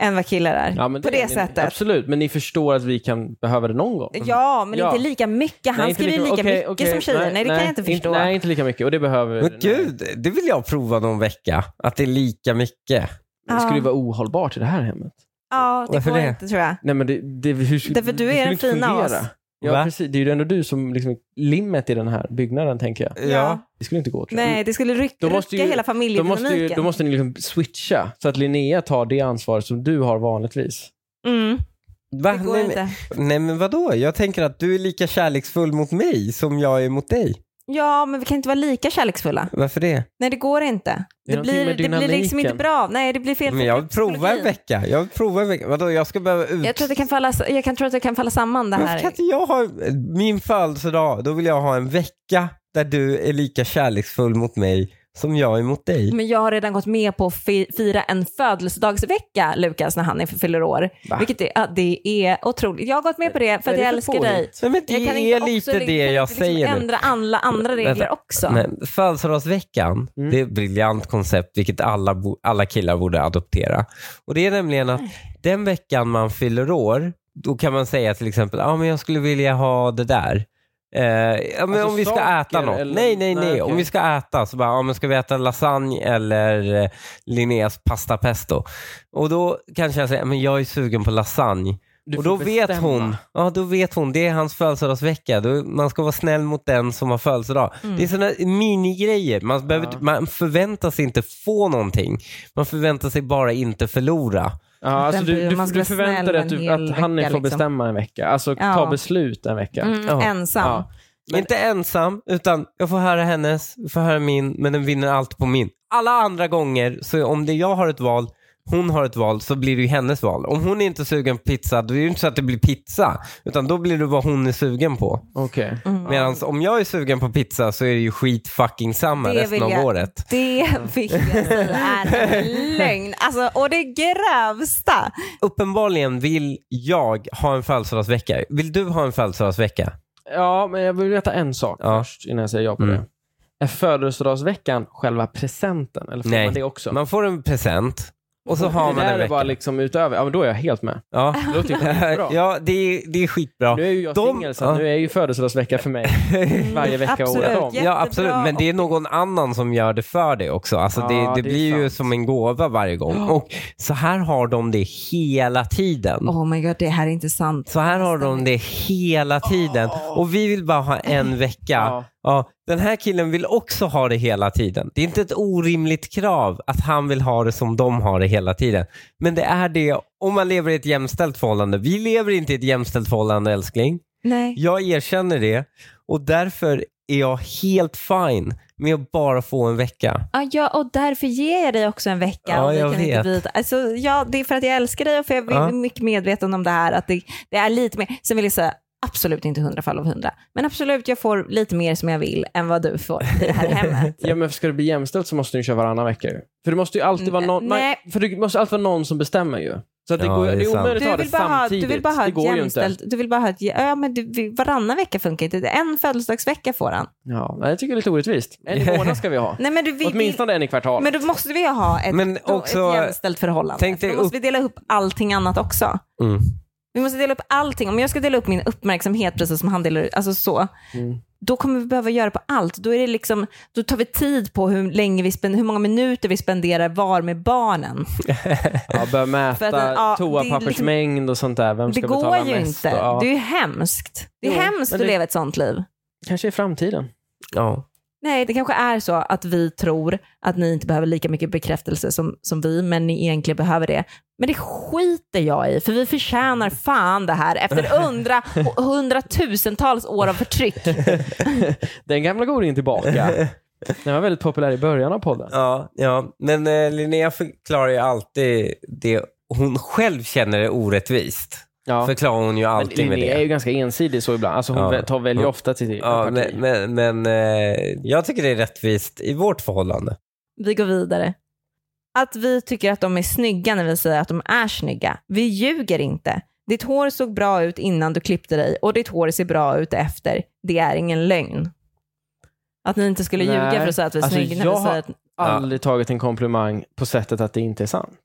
A: än vad killar är.
B: Ja, men
A: på det,
B: är ni-
A: sättet.
B: Absolut, men ni förstår att vi kan behöva det någon gång.
A: Ja, men
B: Ja.
A: inte lika mycket. Han
B: Nej, inte
A: skriver lika,
B: okej,
A: mycket
B: okej,
A: som tjejer. Nej, det kan jag inte förstå.
B: nej, inte lika mycket. Och det behöver...
C: Men gud, det vill jag prova någon vecka. Att det är lika mycket.
B: Det skulle ju
A: Ja.
B: vara ohållbart i det här hemmet.
A: Ja, det
C: Varför
A: går
C: det?
A: inte tror jag.
B: Nej, men det, det, hur, skulle-
A: Därför du
B: det
A: är
B: skulle
A: den
B: inte
A: fina av
B: fungera.
A: oss.
B: Ja,
C: Va?
B: precis. Det är ju ändå du som liksom limmet i den här byggnaden, tänker jag.
A: Ja.
B: Det skulle inte gå, tror jag.
A: Nej, det skulle ryck,
B: Då måste
A: rycka
B: ju-
A: hela
B: Då måste, ju,
A: familjedynamiken.
B: då måste ni liksom switcha, så att Linnea tar det ansvaret som du har vanligtvis.
A: mm,
C: Va?
A: det går
C: nej,
A: inte.
C: Men, nej men vadå? Jag tänker att du är lika kärleksfull mot mig som jag är mot dig.
A: Ja, men vi kan inte vara lika kärleksfulla.
C: Varför det?
A: Nej, det går inte.
B: Det
A: Det,
B: är någonting
A: blir,
B: med
A: det blir liksom
B: dynamiken.
A: inte bra. Nej, det blir fel.
C: Men jag vill prova en
A: psykologin.
C: vecka. Jag vill prova en vecka. Vadå, jag ska behöva ut...
A: Jag tror att det kan falla, jag kan, tror att det kan falla samman det
C: Varför kan
A: här.
C: inte jag ha min födelsedag? Då vill jag ha en vecka där du är lika kärleksfull mot mig som jag är mot dig.
A: Men jag har redan gått med på att fi- fira en födelsedagsvecka, Lukas, när han är fyller år.
B: Va?
A: Vilket är, ja, det är otroligt. Jag har gått med på det för
B: Vad
A: att
B: är
A: jag
B: det för
A: älskar dig.
B: påhitt?
C: Nej, men det
A: Jag kan
C: är
A: inte
C: lite
A: också,
C: det jag
A: liksom
C: säger nu.
A: ändra alla andra regler
C: Vänta.
A: också.
C: Men födelsedagsveckan,
B: Mm.
C: det är ett briljant koncept vilket alla, bo- alla killar borde adoptera. Och det är nämligen att den veckan man fyller år, då kan man säga till exempel, ja ah, men jag skulle vilja ha det där. Eh, ja, men
B: Alltså
C: om vi ska
B: saker
C: äta något.
B: eller-
C: Nej, nej, nej.
B: Nej, okej.
C: Om vi ska äta så bara, ja men ska vi äta lasagne eller eh, Linneas pasta pesto? Och då kanske jag säger, men jag är sugen på lasagne.
B: Du
C: och
B: får
C: då vet
B: bestämma.
C: hon, ja då vet hon, det är hans födelsedagsvecka. Då, man ska vara snäll mot den som har födelsedag. Det är sådana minigrejer. Man, behöver,
B: Mm. Ja.
C: man förväntar sig inte få någonting. Man förväntar sig bara inte förlora.
B: Ja, alltså
A: bryr-
B: du, du,
A: man ska
B: du
A: vara
B: förväntar
A: snäll
B: dig att,
A: en
B: du,
A: hel
B: att han
A: vecka,
B: får
A: liksom.
B: bestämma en vecka. Alltså
A: Ja.
B: ta beslut en vecka.
A: Mm,
C: Ja.
A: Ensam.
B: Ja. Men-
C: Inte ensam, utan jag får höra hennes, jag får höra min, men den vinner allt på min. Alla andra gånger, så om det jag har ett val, hon har ett val, så blir det ju hennes val. Om hon är inte är sugen på pizza, då är det ju inte så att det blir pizza, utan då blir det vad hon är sugen på.
B: Okej.
A: Mm.
C: Medan om jag är sugen på pizza så är det ju skit fucking samma
A: Det vill
C: resten av
A: jag-
C: året.
A: Det vill jag säga är en lögn. Alltså, och det grövsta.
C: Uppenbarligen vill jag ha en födelsedagsvecka. Vill du ha en födelsedagsvecka?
B: Ja, men jag vill veta en sak
C: Ja.
B: först innan jag säger ja på
C: Mm.
B: det. Är födelsedagsveckan själva presenten? Eller får
C: Nej.
B: man det också?
C: Man får en present och så har
B: det
C: man
B: där
C: en
B: är bara
C: vecka.
B: liksom utöver. Ja, men då är jag helt med.
C: Ja,
B: Det låter ju skitbra.
C: ja det, är, det är skitbra.
B: Nu är ju jag
C: De-
B: singel, så
C: ja.
B: nu är ju födelsedagsvecka för mig varje vecka
A: absolut.
B: året om.
A: Ja.
C: Ja absolut, men det är någon annan som gör det för dig också. Alltså
B: Ja,
C: det, det,
B: det är
C: blir ju
B: sant.
C: som en gåva varje gång. Och så här har de det hela tiden.
A: Oh my god, det här är inte sant.
C: Så här har de det hela tiden. Och vi vill bara ha en vecka.
B: Ja.
C: Ja. den här killen vill också ha det hela tiden. Det är inte ett orimligt krav att han vill ha det som de har det hela tiden. Men det är det om man lever i ett jämställt förhållande. Vi lever inte i ett jämställt förhållande älskling.
A: Nej.
C: Jag erkänner det och därför är jag helt fine med att bara få en vecka.
A: Ja, ja, och därför ger jag dig också en vecka.
C: Ja,
A: och vi
C: jag
A: kan inte
C: vet.
A: byta. Alltså, ja, det är för att jag älskar dig och för jag är
C: Ja.
A: mycket medveten om det här. Att det, det är lite mer. Sen vill jag säga, absolut inte hundra fall av hundra. Men absolut, jag får lite mer som jag vill än vad du får i det här hemmet.
B: Ja, men ska det bli jämställt så måste du köra varannan vecka ju. För det måste ju alltid vara någon, nej. för det måste alltid vara någon som bestämmer ju. Så att det,
C: Ja,
B: går,
C: det
B: det
C: är
B: är,
C: sant.
B: omöjligt att ha
A: Du
B: det
A: vill, bara ha,
B: samtidigt.
A: du vill bara ha
B: det
A: ett
B: går ju inte.
A: jämställt... Du vill bara ha ett... Ja, men du, varannan vecka funkar inte. En födelsedagsvecka får han.
B: Ja, nej, jag tycker det är lite orättvist. En i månaden ska vi ha.
A: Nej, men du, vi, vi,
B: Åtminstone en i kvartalet.
A: men då måste vi ju ha ett,
C: Men
A: då-
C: också-
A: ett jämställt förhållande.
C: tänk
A: För
C: dig
A: då måste vi dela upp allting annat också.
C: Mm.
A: Vi måste dela upp allting. Om jag ska dela upp min uppmärksamhet precis som han delar alltså så,
B: Mm.
A: då kommer vi behöva göra på allt. Då, är det liksom, då tar vi tid på hur, länge vi spen- hur många minuter vi spenderar var med barnen.
B: Ja, börja mäta
A: För att, ja,
B: toapappersmängd och sånt där. Vem
A: Det
B: ska
A: går
B: betala
A: ju
B: mest?
A: inte.
B: Och, ja.
A: Det är ju hemskt. Det är
B: Jo,
A: hemskt
B: men
A: att
B: det-
A: leva ett sånt liv.
B: Kanske i framtiden.
C: Ja.
A: Nej, det kanske är så att vi tror att ni inte behöver lika mycket bekräftelse som, som vi, men ni egentligen behöver det. Men det skiter jag i, för vi förtjänar fan det här efter hundra och hundratusentals år av förtryck.
B: Den gamla godingen tillbaka. Den var väldigt populär i början av podden.
C: Ja, ja. men eh, Linnea förklarar ju alltid det hon själv känner är orättvist.
B: Ja.
C: Förklarar hon ju
B: Men
C: alltid med
B: Linnea är
C: det.
B: ju ganska ensidig så ibland. Alltså hon
C: Ja.
B: vä- tar väldigt
C: Ja.
B: ofta till sitt
C: Ja,
B: eget
C: men
B: parti.
C: men, men eh, jag tycker det är rättvist i vårt förhållande.
A: Vi går vidare. Att vi tycker att de är snygga när vi säger att de är snygga. Vi ljuger inte. Ditt hår såg bra ut innan du klippte dig och ditt hår ser bra ut efter. Det är ingen lögn. Att ni inte skulle ljuga
B: Nej.
A: för att säga att vi är
B: Alltså,
A: snygga när
B: jag
A: vi
B: har-
A: säger att...
B: Aldrig tagit en komplimang på sättet att det inte är sant.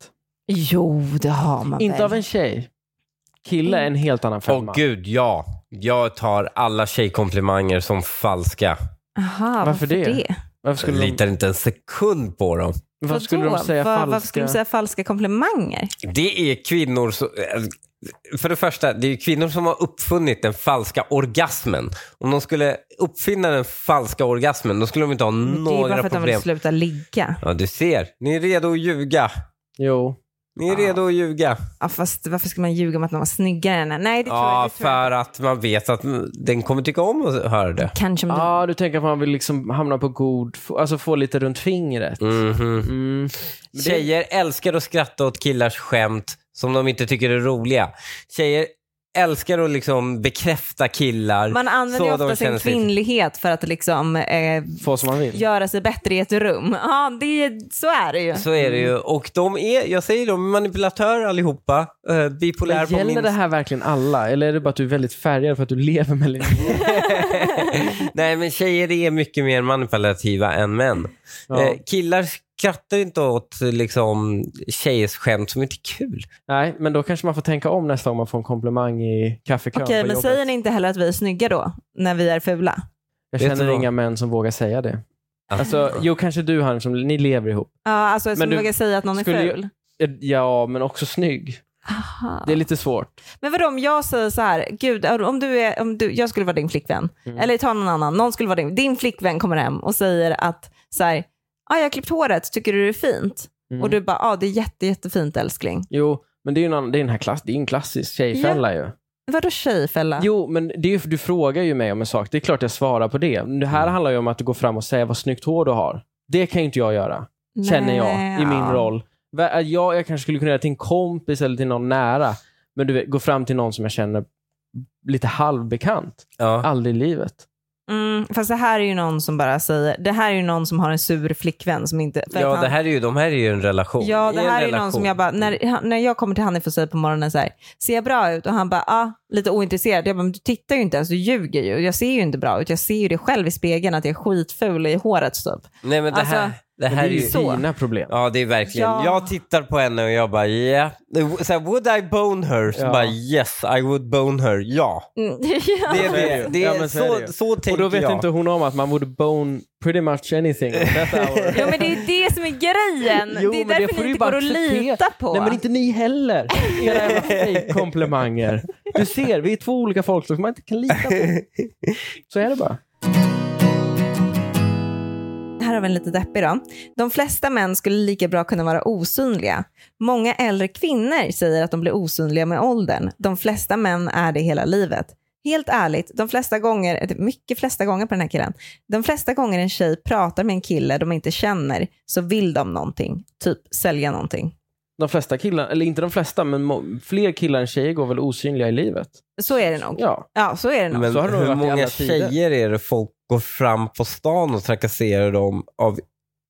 A: Jo, det har man
B: Inte
A: väl.
B: av en tjej. Kille är en helt annan femma.
C: Åh gud, ja. Jag tar alla tjejkomplimanger som falska.
A: Aha, varför,
B: det?
A: det?
B: Varför
C: Jag
B: skulle de,
C: litar inte en sekund på dem.
B: varför skulle de
A: Vadå?
B: säga
A: Var- Varför skulle
B: falska?
A: de säga falska komplimanger?
C: Det är kvinnor som... För det första, det är ju kvinnor som har uppfunnit den falska orgasmen. Om de skulle uppfinna den falska orgasmen, då skulle de inte ha
A: det är ju bara för
C: några
A: att de vill
C: problem.
A: sluta ligga.
C: Ja, du ser. Ni är redo att ljuga.
B: Jo.
C: Ni är
B: Ah.
C: redo att ljuga.
A: Ja, fast varför ska man ljuga om att någon var snyggare än en? Nej, det tror jag
C: Ja,
A: det tror jag.
C: för att man vet att den kommer tycka om att höra det.
A: Kanske om
B: Ja,
A: du...
B: ah, du tänker att man vill liksom hamna på god... fo- Alltså få lite runt fingret.
C: Mhm.
B: Mm.
C: Tjejer älskar att skratta åt killars skämt som de inte tycker är roliga. Tjejer älskar att liksom bekräfta killar.
A: Man använder ju
C: så de
A: ofta
C: känner
A: sin
C: sig-
A: kvinnlighet för att liksom eh,
B: Få som man vill.
A: göra sig bättre i ett rum. Ja, det, så är det ju.
C: Så är det
A: Mm.
C: ju. Och de är, jag säger de, manipulatörer allihopa. Uh, bipolär
B: Men
C: på
B: gäller
C: min...
B: det här verkligen alla? Eller är det bara att du är väldigt färgad för att du lever med Linnea?
C: Nej men tjejer är mycket mer manipulativa än män. Eh, killar skrattar inte åt liksom, tjejers skämt som inte är kul.
B: Nej, men då kanske man får tänka om nästa gång man får en komplimang i kaffekön
A: Okej,
B: på
A: men
B: jobbet.
A: säger ni inte heller att vi är snygga då, när vi är fula?
B: Jag
C: Vet du
B: känner
C: vad?
B: inga män som vågar säga det. Alltså, jo, kanske du han som ni lever ihop.
A: Ja, alltså som
B: Men du-
A: vågar säga att någon är
B: skulle ju-
A: ful.
B: Ja, men också snygg.
A: Aha.
B: Det är lite svårt.
A: Men vadå om jag säger så här, gud, om, du är, om du, jag skulle vara din flickvän,
B: Mm.
A: eller ta någon annan, någon skulle vara din, din flickvän kommer hem och säger att så här, ah, jag har klippt håret, tycker du det är fint?
B: Mm.
A: Och du bara, ja ah, det är jätte, jättefint älskling.
B: Jo, men det är ju en, annan- det är en, här klass, det är en klassisk tjejfälla ju.
A: Vadå tjejfälla?
B: Jo, men det är ju, du frågar ju mig om en sak. Det är klart jag svarar på det. Men Det här handlar ju om att du går fram och säger vad snyggt hår du har. Det kan ju inte jag göra, känner jag,
A: Nej,
B: i min
A: ja.
B: roll. Vä- eh, Jag, jag kanske skulle kunna göra till en kompis eller till någon nära. Men du vet, gå fram till någon som jag känner lite halvbekant.
C: Ja.
B: Aldrig i livet.
A: Mm, fast det här är ju någon som bara säger, det här är ju någon som har en sur flickvän som inte... för att
C: Ja,
A: han-
C: det här är ju, de här är ju en relation.
A: Ja, det
C: I en
A: här är ju
C: relation.
A: någon som jag bara, när, han-
B: Mm.
A: när jag kommer till Hanif och säger på morgonen så här, ser jag bra ut? Och han bara, ah, lite ointresserad. Jag bara, men du tittar ju inte ens, du ljuger ju. Jag ser ju inte bra ut. Jag ser ju det själv i spegeln att jag är skitful i håret typ.
C: Nej men det här,
A: Alltså,
C: det
B: Men
C: här är ju...
A: så.
B: dina problem.
C: Ja, det är verkligen.
A: Ja.
C: Jag tittar på henne och jag bara yeah. Så här, would I bone her? Så
B: Ja.
C: bara yes, I would bone her. Ja.
A: Mm.
C: Det är
B: Så är det
C: det.
B: ju.
C: det
B: Ja,
C: är
B: men så är det
C: så,
B: ju.
C: så tänker
B: Och då vet
C: jag.
B: inte hon om att man borde bone pretty much anything. at that hour.
A: Ja men det är ju det som är grejen.
B: Jo,
A: det är
B: men det
A: därför det
B: får du ju
A: inte
B: bara
A: går att
B: acceptera.
A: lita på.
B: Nej men inte ni heller. Era jävla fake-komplimanger. Du ser, vi är två olika folk som man inte kan lita på. Så är det bara.
A: Här har vi en lite deppig då. De flesta män skulle lika bra kunna vara osynliga. Många äldre kvinnor säger att de blir osynliga med åldern. De flesta män är det hela livet. Helt ärligt, de flesta gånger, mycket flesta gånger på den här killen, de flesta gånger en tjej pratar med en kille de inte känner så vill de någonting, typ sälja någonting.
B: de flesta killar, eller inte de flesta, men mo- fler killar än tjejer går väl osynliga i livet?
A: Så är det nog.
B: Ja.
A: Ja, så är det nog.
C: Men
B: så har det nog
C: hur
B: varit i alla
C: många
B: tider.
C: tjejer är det folk går fram på stan och trakasserar dem av,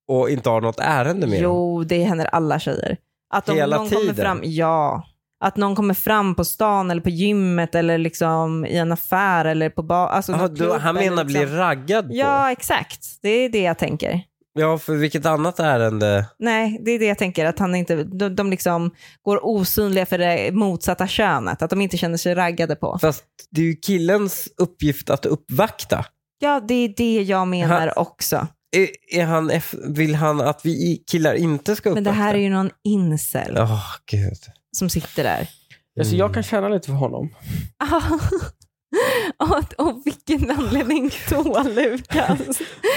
C: och inte har något ärende med dem?
A: Jo, det händer alla tjejer. Att om
C: Hela
A: någon Kommer
C: tiden?
A: fram, ja. Att någon kommer fram på stan eller på gymmet eller liksom i en affär eller på bar. Alltså
C: Ah,
A: någon
C: du,
A: klubb
C: han
A: eller
C: menar bli
A: liksom.
C: raggad på?
A: Ja, exakt. Det är det jag tänker.
C: ja, för vilket annat ärende?
A: Nej, det är det jag tänker. Att han inte, de, de liksom går osynliga för det motsatta könet. Att de inte känner sig raggade på.
C: Fast det är ju killens uppgift att uppvakta.
A: Ja, det är det jag menar
C: Ha-
A: också.
C: Är, är han, eff- vill han att vi i- killar inte ska
A: Men
C: uppvakta?
A: det här är ju någon incel
C: Åh, gud.
A: som sitter där.
B: Alltså,
C: Mm.
B: jag kan känna lite för honom.
A: och, och vilken anledning då, Lukas?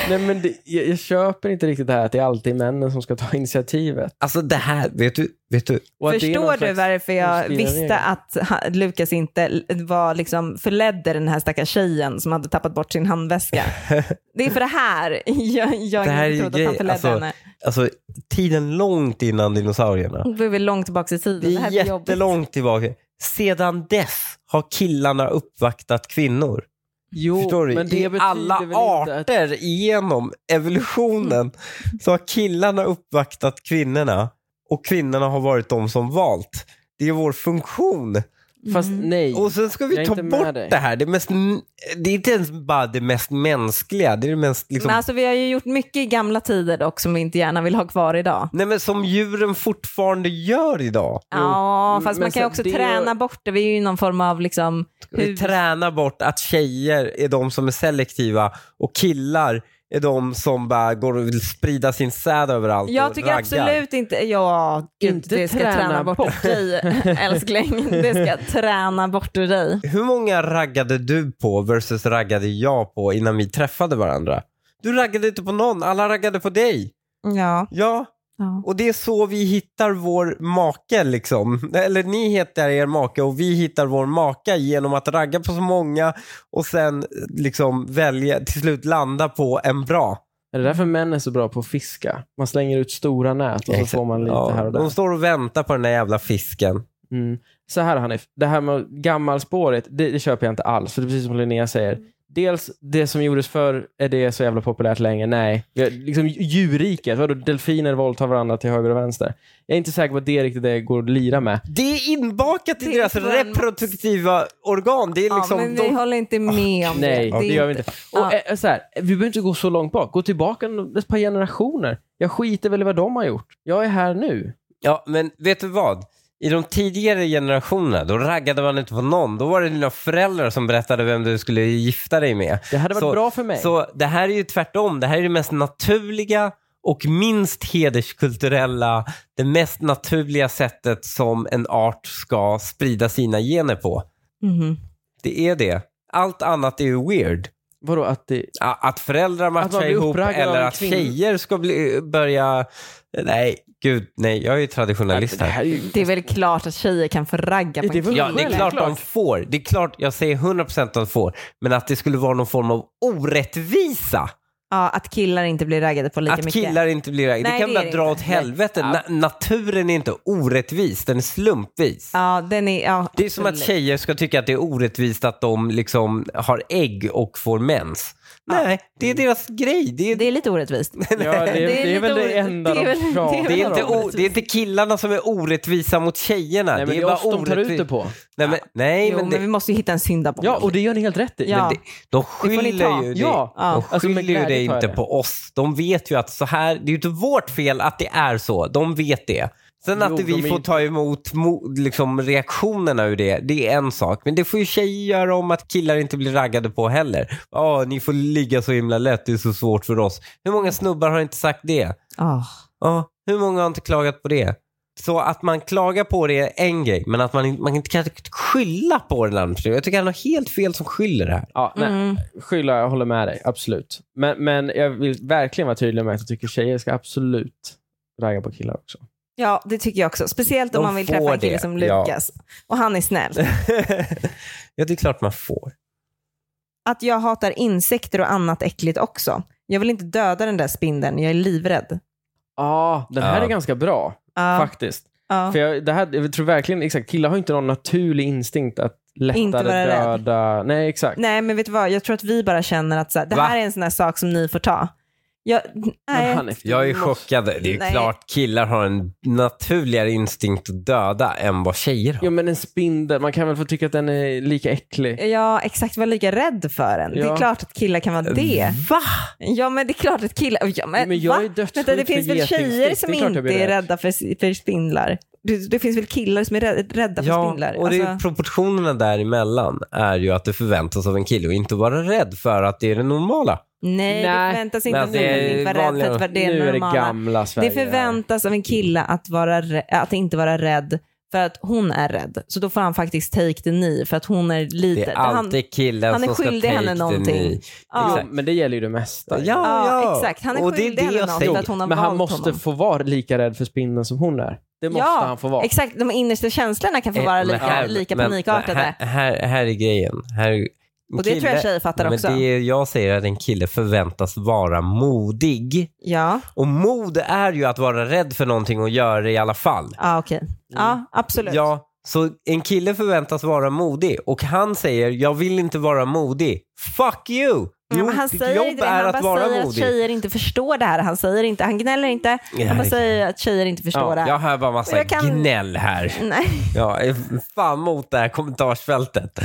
B: Nej, men det, jag, jag köper inte riktigt det här att det är alltid männen som ska ta initiativet.
C: Alltså det här, vet du? Vet du?
B: Och att det är någon
A: Förstår du
B: slags-
A: varför jag
B: skriva
A: visste
B: regler.
A: att ha- Lukas inte l- var liksom förledde den här stackars tjejen som hade tappat bort sin handväska? det är för det här jag, jag
C: Det här är ju
A: trodde att
C: grej-
A: han förledde
C: alltså,
A: henne.
C: Alltså tiden långt innan dinosaurierna.
A: Nu är vi långt tillbaka i tiden.
C: Det
A: Mm, Det här
C: är
A: blir jobbigt.
C: jättelångt tillbaka. Sedan dess har killarna uppvaktat kvinnor.
B: Jo,
C: Förstår du?
B: men det
C: I
B: betyder
C: alla
B: väl inte att-
C: arter genom
A: Mm.
C: evolutionen så har killarna uppvaktat kvinnorna och kvinnorna har varit de som valt. Det är vår funktion.
B: Fast nej.
C: Och sen ska vi
B: Jag är
C: ta
B: inte med
C: bort
B: dig.
C: det här. Det är, mest, det är inte ens bara det mest mänskliga. Det är det mest, liksom,
A: Men alltså, vi har ju gjort mycket i gamla tider dock som vi inte gärna vill ha kvar idag.
C: nej, men som djuren fortfarande gör idag.
A: Ja, fast
B: men
A: man kan ju
B: så-
A: också
B: det-
A: träna bort det. Vi är ju någon form av liksom...
C: Vi
A: hur-
C: tränar bort att tjejer är de som är selektiva och killar är de som bara går och vill sprida sin säd överallt
A: Jag
C: och
A: tycker
C: raggar.
A: absolut inte... Ja, gud,
B: Inte
A: det ska
B: träna
A: träna, bort,
B: bort.
A: dig, älskling. Det ska träna bort ur dig.
C: Hur många raggade du på versus raggade jag på innan vi träffade varandra? Du raggade inte på någon, alla raggade på dig.
A: Ja.
C: Ja,
A: ja.
C: och det är så vi hittar vår make liksom. Eller ni hittar er make och vi hittar vår maka genom att ragga på så många och sen liksom välja, till slut landa på en bra.
B: Är det därför män är så bra på att fiska? Man slänger ut stora nät och så
C: Exakt.
B: får man lite
C: Ja,
B: här och där.
C: De står och väntar på den där jävla fisken.
B: Mm. Så här Hanif, det här med gammalspåret, det, det köper jag inte alls. För det är precis som Linnea säger.
A: Mm.
B: Dels, det som gjordes förr, är det så jävla populärt längre? Nej. Jag- Liksom djurriket, vadå delfiner våldtar varandra till höger och vänster. Jag är inte säker på att det riktigt det går att lira med.
C: Det är inbakat i
A: Det är
C: deras
A: för en-
C: reproduktiva organ. Det är liksom...
A: ja, men vi
C: de...
A: håller inte med om
B: Nej,
A: det.
B: det, gör vi
A: inte-
B: inte.
A: Ja.
B: Och, eh, så här, vi behöver inte gå så långt bak. Gå tillbaka en- ett par generationer. Jag skiter väl i vad de har gjort. Jag är här nu.
C: Ja, men vet du vad? I de tidigare generationerna, då raggade man inte på någon. Då var det dina föräldrar som berättade vem du skulle gifta dig med.
B: Det hade varit
C: Så-
B: bra för mig.
C: Så det här är ju tvärtom. Det här är det mest naturliga och minst hederskulturella, det mest naturliga sättet som en art ska sprida sina gener på.
A: Mhm.
C: Det är det. Allt annat är ju weird.
B: Vadå att det...
C: Ja, Att föräldrar
B: Att man
C: matchar
B: blir
C: ihop
B: uppraggad av
C: eller
B: en
C: att
B: kvinna.
C: tjejer ska bli, börja... Nej, gud, nej. Jag är ju traditionalist
B: Alltså, det
C: här.
B: här är ju...
A: Det är väl klart att tjejer kan förragga på
B: Det är
A: en
B: väl
A: kille.
C: Ja, det är klart de
B: Självklart.
C: får. Det är klart, jag säger 100% att de får. Men att det skulle vara någon form av orättvisa.
A: Ja, att killar inte blir raggade på lika
C: att
A: mycket.
C: killar inte blir raggade.
A: Nej,
C: Det kan
A: det är
C: bara
A: det
C: dra
A: inte.
C: åt helvete. Na naturen är inte orättvis, den är slumpvis.
A: Ja, den är... Ja,
C: Det är som att
A: absolut.
C: tjejer ska tycka att det är orättvist att de liksom har ägg och får mens. Nej, det är deras grej. Det är,
A: Det är lite orättvist.
B: Ja, det, är,
A: Det är
B: det
A: lite
B: är väl det
A: orätt-
B: enda
A: det är väl- det
B: de
A: är
B: pratar
A: väl-
C: Det är, inte, o,
A: orättvist.
C: det är inte killarna som är orättvisa mot tjejerna.
B: Nej, men det
C: bara
B: är oss de tar ut
C: orättvi-
B: det på.
C: Nej, men, nej,
A: Jo,
C: men,
A: men,
C: det,
A: vi måste ju hitta en syndabock.
B: Ja, och det gör ni helt rätt i.
A: Ja.
B: Men
C: det, de
A: ni ta.
C: skyller ju det.
B: Ja.
C: De
A: Ja.
B: Alltså, med
C: skyller ju det
B: glädje tar jag
C: inte
B: det.
C: på oss. De vet ju att så här, det är ju inte vårt fel att det är så. De vet det. Sen
B: Jo,
C: att
B: de är
C: vi får
B: ju-
C: ta emot mo, liksom, reaktionerna ur det, det är en sak. Men det får ju tjejer göra om att killar inte blir raggade på heller. Ja, ni får ligga så himla lätt, det är så svårt för oss. Hur många snubbar har inte sagt det?
A: Ah.
C: Ja, hur många har inte klagat på det? Så att man klagar på det är en grej, men att man, inte- man inte kan skylla på den andra personen. Jag tycker han har helt fel som skyller det här.
B: Ja, nej,
A: Mm.
B: Skylla, jag håller med dig. Absolut. Men, men jag vill verkligen vara tydlig med att jag tycker tjejer ska absolut ragga på killar också.
A: Ja, det tycker jag också. Speciellt om
C: De
A: man vill
C: får
A: träffa en kille
C: det,
A: som
C: ja.
A: Lukas. Och han är snäll.
C: ja, det är klart man får.
A: Att jag hatar insekter och annat äckligt också. Jag vill inte döda den där spindeln, jag är livrädd.
B: Ja, den här
C: Ja.
B: är ganska bra
A: Ja.
B: faktiskt.
A: Ja.
B: För jag, det här, jag tror verkligen, exakt, killar har inte någon naturlig instinkt att lättare
A: Inte vara rädd.
B: döda... Nej, exakt.
A: Nej, men vet du vad? Jag tror att vi bara känner att så här, det
C: Va?
A: här är en sån här sak som ni får ta. Jag, nej.
B: Men han är-
C: Jag är chockad. Det är
A: Nej.
C: klart killar har en naturligare instinkt att döda än vad tjejer har.
B: Ja, men en spindel. Man kan väl få tycka att den är lika äcklig.
A: Ja, exakt. Var lika rädd för en. Det
B: Ja.
A: är klart att killar kan vara det.
C: Va?
A: Ja, men det är klart att killar... Ja, men,
B: Men jag
A: va?
B: är dödssjuk
A: Vänta, det
B: för
A: finns väl
B: getingstick. Det
A: tjejer
B: är
A: som
B: klart jag
A: inte
B: blir
A: är
B: rädd.
A: rädda för, för spindlar? Det, det finns väl killar som är rädd- rädda för
C: Ja,
A: spindlar?
C: och det är
A: Alltså,
C: proportionerna däremellan är ju att det förväntas av en kille och inte vara rädd för att det är det normala.
A: nej,
B: Nej,
A: det förväntas inte
C: men
A: av någon
C: det är
A: att vara rädd för
C: vanligare.
A: att vara det
B: nu är det
A: normala.
B: gamla Sverige.
A: Det förväntas av en kille att, vara, rä- att inte vara rädd för att hon är rädd. Så då får han faktiskt take the knee för att hon är liten.
C: Det är
A: Han-
C: alltid killen
A: han är
C: som ska
A: skyldig
C: take
A: henne
C: the
A: någonting.
C: knee.
A: ja.
B: Jo, men det gäller ju det mesta.
C: Ja,
A: Ja,
C: ja.
A: exakt. Han är
C: och det är
A: skyldig
C: det
A: henne
C: jag
A: något
C: säger.
A: för att hon har
B: Men
A: valt
B: han måste
A: honom.
B: få vara lika rädd för spindeln som hon är. Det måste
A: ja,
B: han få vara.
A: Exakt, de innersta känslorna kan få vara
C: Eh, men
A: lika,
C: här-
A: lika
C: men
A: panikartade.
C: Här, här, här är grejen. Här, är- en
A: och det tror jag
C: kille-
A: tjejer fattar
C: men
A: också.
C: Det jag säger är att en kille förväntas vara modig.
A: Ja,
C: Och mod är ju att vara rädd för någonting och göra det i alla fall.
A: ja okej. Ja, absolut.
C: Mm. Ja, så en kille förväntas vara modig och han säger jag vill inte vara modig. Fuck you!
A: Ja,
C: Jo,
A: men Mm, han
C: ditt
A: säger
C: jobb
A: inte det,
C: är
A: han bara
C: att vara
A: säger att
C: modig.
A: tjejer inte förstår det här. Han säger inte, han gnäller inte, han bara
C: Herregud.
A: säger att tjejer inte förstår
B: Ja,
A: det här.
C: Jag hör bara
A: Och
C: massa
A: jag kan-
C: gnäll här.
A: Nej.
C: Jag är fan mot det här kommentarsfältet.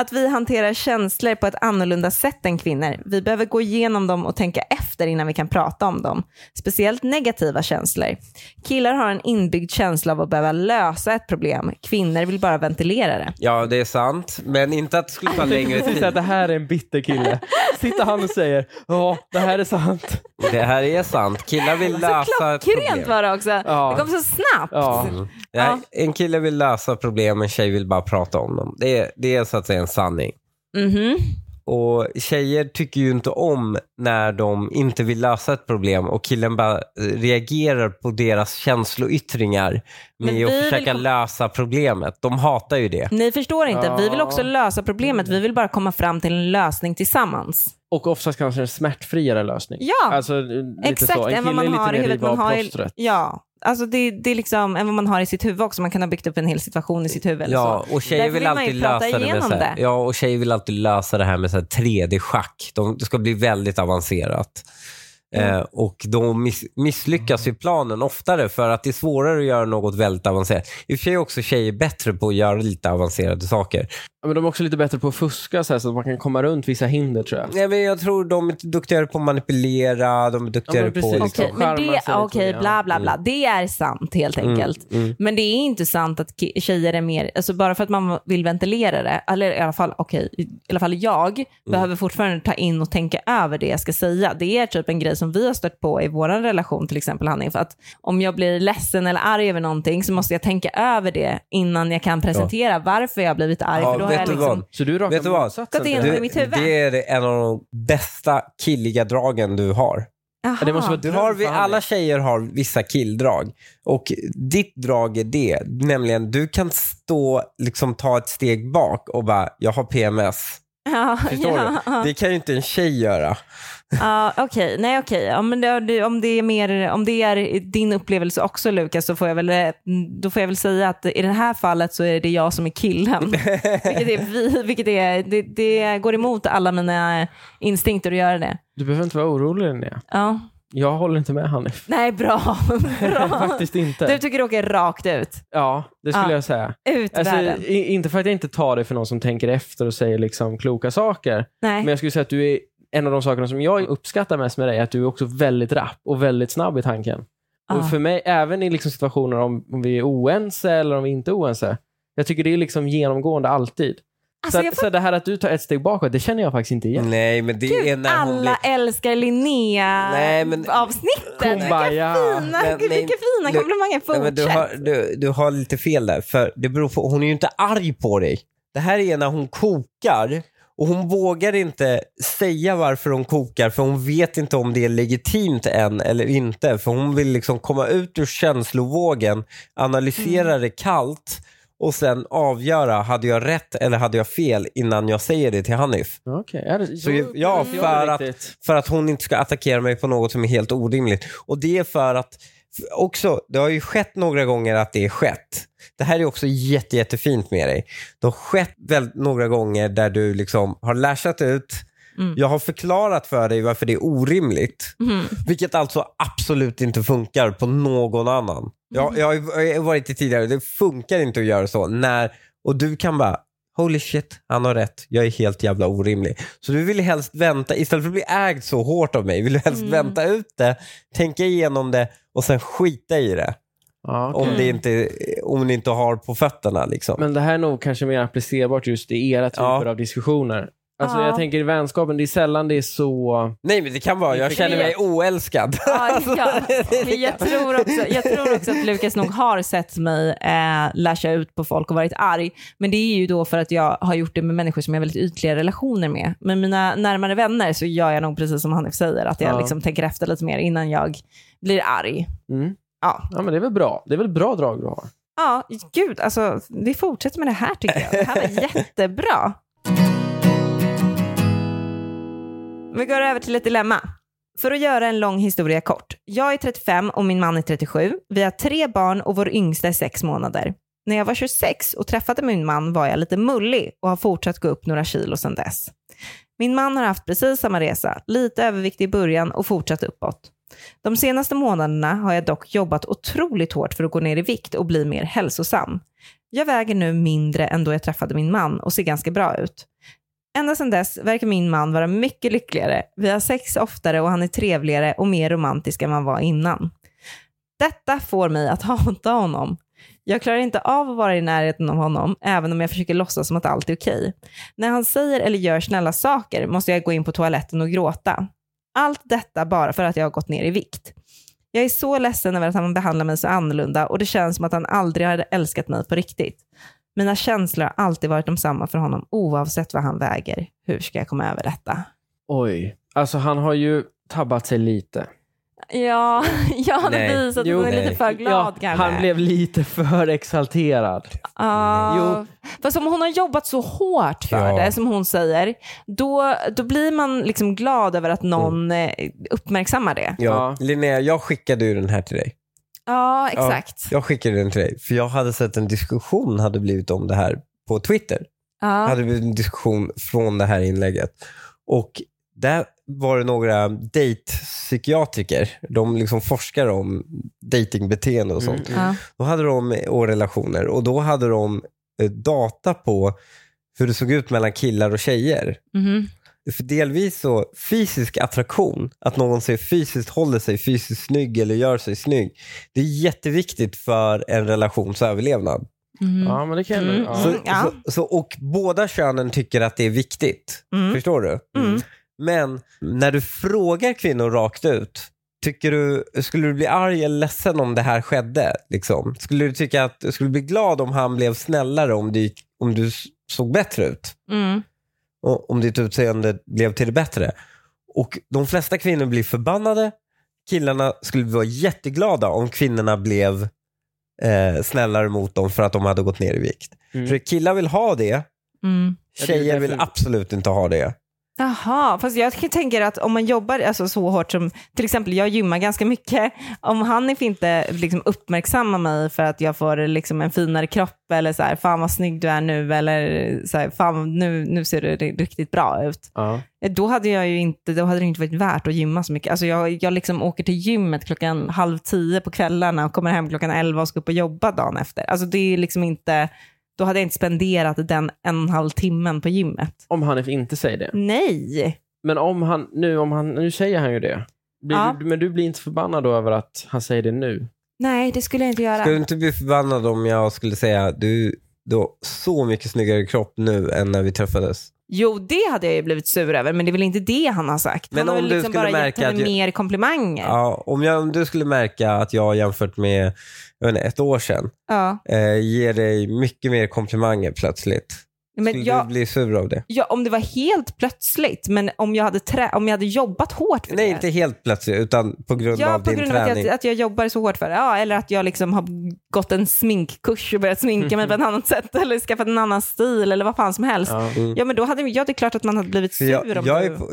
A: Att vi hanterar känslor på ett annorlunda sätt än kvinnor. Vi behöver gå igenom dem och tänka efter innan vi kan prata om dem. Speciellt negativa känslor. Killar har en inbyggd känsla av att behöva lösa ett problem. Kvinnor vill bara ventilera det.
C: Ja, det är sant. Men inte att det skulle ta längre
B: Precis att
C: tid.
B: det här är en bitter kille. Sitter han och säger ja, det här är sant.
C: Det här är sant. Killar vill lösa ett
A: Klockrent
C: problem.
A: var det också.
B: Ja.
A: Det kom så snabbt.
B: Ja.
C: Nej,
A: Ja.
C: En kille vill lösa problem, en tjej vill bara prata om dem. Det är, det är så att säga en sanning.
A: Mhm.
C: Och tjejer tycker ju inte om när de inte vill lösa ett problem och killen bara eh, reagerar på deras känsloyttringar
A: Men vi
C: med att
A: vill
C: försöka
A: kom-
C: lösa problemet. De hatar ju det.
A: Ni förstår inte, vi vill
B: Ja.
A: också lösa problemet. Vi vill bara komma fram till en lösning tillsammans.
B: Och oftast kanske en smärtfriare lösning.
A: Ja,
B: Alltså, lite
A: exakt.
B: så. En
A: än vad
B: kille är
A: man har
B: lite
A: i
B: mer
A: huvudet.
B: riva
A: Man
B: av
A: har i,
B: plåstret.
A: ja, alltså det, det är liksom än vad man har i sitt huvud också. Man kan ha byggt upp en hel situation i sitt huvud. eller
C: Ja, och tjejer
A: Därför
C: vill
A: vill man ju
C: alltid
A: prata
C: lösa det med
A: igenom
C: så här,
A: det.
C: Ja, och tjejer vill alltid lösa det här med så här 3D-schack. De, det ska bli väldigt avancerat.
A: Mm.
C: Eh, och då miss, misslyckas ju planen oftare för att det är svårare att göra något väldigt avancerat. I och för sig är också tjejer bättre på att göra lite avancerade saker.
B: Ja, Men de är också lite bättre på att fuska så, här, så att man kan komma runt vissa hinder tror jag.
C: Nej, men jag tror de är duktigare på att manipulera, de är duktigare på...
B: precis.
C: Liksom,
A: Okej, men
B: Charmar
A: det,
B: sig lite
A: okej,
B: grann.
A: bla bla bla. Det är sant helt enkelt. Men det är inte sant att ki- tjejer är mer, alltså bara för att man vill ventilera det, eller i alla fall, okej, i alla fall jag behöver fortfarande ta in och tänka över det jag ska säga. Det är typ en grej som vi har stött på i vår relation till exempel Hanif, att om jag blir ledsen eller arg över någonting så måste jag tänka över det innan jag kan presentera varför jag har blivit arg.
C: Ja,
A: för då har
C: vet
A: jag
C: du
A: liksom,
C: vad?
B: Så du är raka
C: Vet du vad?
B: motsatsen
A: Gått in
B: till
A: i
B: det.
A: mitt
C: Det,
A: huvud.
C: det är en av de bästa killiga dragen du har.
B: Ja, det måste
A: Aha.
B: vara
C: Du har, vi,
B: drömförhandling.
C: alla tjejer har vissa killdrag. Och ditt drag är det, nämligen du kan stå, liksom ta ett steg bak och bara, jag har PMS.
A: Ja,
C: Förstår
A: ja, ja.
C: du? Det kan ju inte en tjej göra.
A: Ja, okej. Nej, okej. Ja, men det- det- om, det är mer- om det är din upplevelse också, Lukas, så får jag väl, eh, då får jag väl säga att i det här fallet så är det jag som är killen. vilket är vi, vilket är, det, det går emot alla mina instinkter att göra det.
B: Du behöver inte vara orolig Linnea.
A: Ja.
B: Jag håller inte med Hanif.
A: Nej, bra. bra.
B: Faktiskt inte.
A: Du tycker det åker rakt ut.
B: Ja, det skulle
A: Ja.
B: jag säga.
A: Ut
B: Alltså,
A: världen.
B: i, inte för att jag inte tar det för någon som tänker efter och säger liksom kloka saker. Men
A: Nej.
B: jag skulle säga att du är en av de sakerna som jag uppskattar mest med dig är att du är också väldigt rapp och väldigt snabb i tanken.
A: Ja.
B: Och för mig, även i liksom situationer om, om vi är oense eller om vi inte är oense. Jag tycker det är liksom genomgående alltid.
A: Alltså,
B: så,
A: jag
B: att,
A: får,
B: så det här att du tar ett steg bakåt, det känner jag faktiskt inte igen.
C: Nej, men det är
A: gud,
C: när hon blir...
A: alla älskar
C: Nej, men-
A: Linnea-avsnittet. Vilka
B: Kumbaya.
A: fina,
C: Men-
A: vilka
C: men-
A: fina
C: Lu-
A: komplimanger.
C: Nej, men du,
A: Fortsätt.
C: har, du, du har lite fel där, för det beror på, hon är ju inte arg på dig. Det här är när hon kokar och hon vågar inte säga varför hon kokar för hon vet inte om det är legitimt än eller inte. För hon vill liksom komma ut ur känslovågen, analysera det kallt och sen avgöra, hade jag rätt eller hade jag fel innan jag säger det till Hanif?
B: Okej, ja, det- Mm.
C: Så
B: jag
C: ju- ja,
B: upplever inte
C: för
B: riktigt.
C: För att hon inte ska attackera mig på något som är helt orimligt. Och det är för att också, det har ju skett några gånger att det är skett. Det här är också jätte, jättefint med dig. Det har skett väl några gånger där du liksom har lashat ut.
A: Mm.
C: Jag har förklarat för dig varför det är orimligt.
A: Mhm.
C: Vilket alltså absolut inte funkar på någon annan. Jag, jag, har ju- jag har varit det tidigare, det funkar inte att göra så. När, och du kan bara, holy shit, han har rätt. Jag är helt jävla orimlig. Så du vill helst vänta, istället för att bli ägd så hårt av mig, vill du helst
A: Mm.
C: vänta ut det, tänka igenom det och sen skita i det.
B: Ja, okej.
C: Om, det inte, om ni inte har på fötterna liksom.
B: Men det här är nog kanske mer applicerbart just i era typer
C: Ja.
B: av diskussioner. Alltså
A: Ja.
B: jag tänker i vänskapen, det är sällan det är så...
C: Nej men det kan vara, jag känner mig oälskad.
A: Ja,
C: Alltså,
A: ja. Men jag, tror också, jag tror också att Lukas nog har sett mig eh, lasha ut på folk och varit arg. Men det är ju då för att jag har gjort det med människor som jag har väldigt ytliga relationer med. Med mina närmare vänner så gör jag nog precis som Hanif säger, att jag
B: Ja.
A: liksom tänker efter lite mer innan jag blir arg.
B: Mm.
A: Ja.
B: Ja, men det är väl bra. Det är väl bra drag du har.
A: Ja, gud, alltså vi fortsätter med det här tycker jag. Det här var jättebra. Vi går över till ett dilemma. För att göra en lång historia kort. Jag är 35 och min man är 37. Vi har tre barn och vår yngsta är sex månader. När jag var 26 och träffade min man var jag lite mullig och har fortsatt gå upp några kilo sedan dess. Min man har haft precis samma resa, lite överviktig i början och fortsatt uppåt. De senaste månaderna har jag dock jobbat otroligt hårt för att gå ner i vikt och bli mer hälsosam. Jag väger nu mindre än då jag träffade min man och ser ganska bra ut. Ända sedan dess verkar min man vara mycket lyckligare. Vi har sex oftare och han är trevligare och mer romantisk än man var innan. Detta får mig att hata honom. Jag klarar inte av att vara i närheten av honom, även om jag försöker låtsas som att allt är okej. När han säger eller gör snälla saker måste jag gå in på toaletten och gråta. Allt detta bara för att jag har gått ner i vikt. Jag är så ledsen över att han behandlar mig så annorlunda och det känns som att han aldrig hade älskat mig på riktigt. Mina känslor har alltid varit de samma för honom oavsett vad han väger. Hur ska jag komma över detta?
B: Oj. Alltså han har ju tabbat sig lite.
A: Ja, jag hade
C: Nej.
A: visat att
B: Jo,
A: hon är lite
C: nej.
A: för glad
B: ja,
A: kanske.
B: han blev lite för exalterad.
A: Ja.
B: Jo.
A: Fast om hon har jobbat så hårt för
C: Ja.
A: det, som hon säger, då, då blir man liksom glad över att någon eh, uppmärksammar det.
C: Ja.
B: Ja.
C: Linnea, jag skickade ju den här till dig.
A: Ja, exakt.
C: Jag skickade den till dig, för jag hade sett en diskussion hade blivit om det här på Twitter.
A: Ja.
C: hade vi en diskussion från det här inlägget. Och där var det några dejtpsykiatriker. De liksom forskar om datingbeteende och sånt.
B: Mm.
A: Ja.
C: Då hade de, och relationer. Och då hade de eh, data på hur det såg ut mellan killar och tjejer.
A: Mhm.
C: För delvis så fysisk attraktion, att någon ser fysiskt, håller sig fysiskt snygg eller gör sig snygg. Det är jätteviktigt för en relations överlevnad.
A: Mhm.
B: Ja, men det kan
A: Mm.
B: du. Ja.
C: Så,
A: Mm, ja.
C: så, så, och båda könen tycker att det är viktigt.
A: Mm.
C: Förstår du?
A: Mm.
C: Men när du frågar kvinnor rakt ut, tycker du, skulle du bli arg eller ledsen om det här skedde? Liksom? Skulle, du tycka att, skulle du bli glad om han blev snällare om du, om du s- såg bättre ut?
A: Mm.
C: Och, om ditt utseende blev till det bättre? Och de flesta kvinnor blir förbannade. Killarna skulle vara jätteglada om kvinnorna blev eh, snällare mot dem för att de hade gått ner i vikt.
B: Mm.
C: För killar vill ha det,
A: Mm.
B: Ja, det är
C: tjejer vill
B: därför-
C: absolut inte ha det.
A: Jaha, fast jag tänker att om man jobbar alltså, så hårt som, till exempel jag gymmar ganska mycket, om han inte liksom, uppmärksammar mig för att jag får liksom, en finare kropp eller så här, fan vad snygg du är nu eller så här, fan nu, nu ser du ri- riktigt bra ut.
B: Ja.
A: Eh, Då hade, jag ju inte, då hade det inte varit värt att gymma så mycket. Alltså, jag jag liksom åker till gymmet klockan halv tio på kvällarna och kommer hem klockan elva och ska upp och jobba dagen efter. Alltså, det är liksom inte, då hade jag inte spenderat den en och en halv timmen på gymmet.
B: Om han inte säger det.
A: Nej!
B: Men om han, nu, om han, nu säger han ju det. Blir
A: Ja.
B: du, men du blir inte förbannad då över att han säger det nu?
A: Nej, det skulle jag inte göra.
C: Skulle du inte bli förbannad om jag skulle säga du, du har så mycket snyggare kropp nu än när vi träffades?
A: Jo, det hade jag ju blivit sur över, men det är väl inte det han har sagt.
C: Men
A: han har
C: om
A: väl
C: du
A: liksom
C: skulle
A: bara
C: märka
A: gett
C: att
A: henne
C: jag-
A: mer komplimanger. Ja.
C: Ja, om, jag, om du skulle märka att jag jämfört med jag vet inte, ett år sedan eh, ger dig mycket mer komplimanger plötsligt.
A: Men
C: skulle
A: jag,
C: du bli sur av det?
A: ja, om det var helt plötsligt, men om jag hade, trä, om jag hade jobbat hårt för
C: Nej,
A: det.
C: inte helt plötsligt utan på grund
A: Ja,
C: av
A: på
C: din
A: grund av att
C: träning.
A: jag, att jag jobbar så hårt för det. Ja, eller att jag liksom har gått en sminkkurs och börjat sminka mig på ett annat sätt eller skaffat en annan stil eller vad fan som helst. Ja,
C: Mm.
B: Ja.
A: men då hade ja, det är klart att man hade blivit
C: För
A: sur
C: jag,
A: om
C: jag
A: du...
C: är på,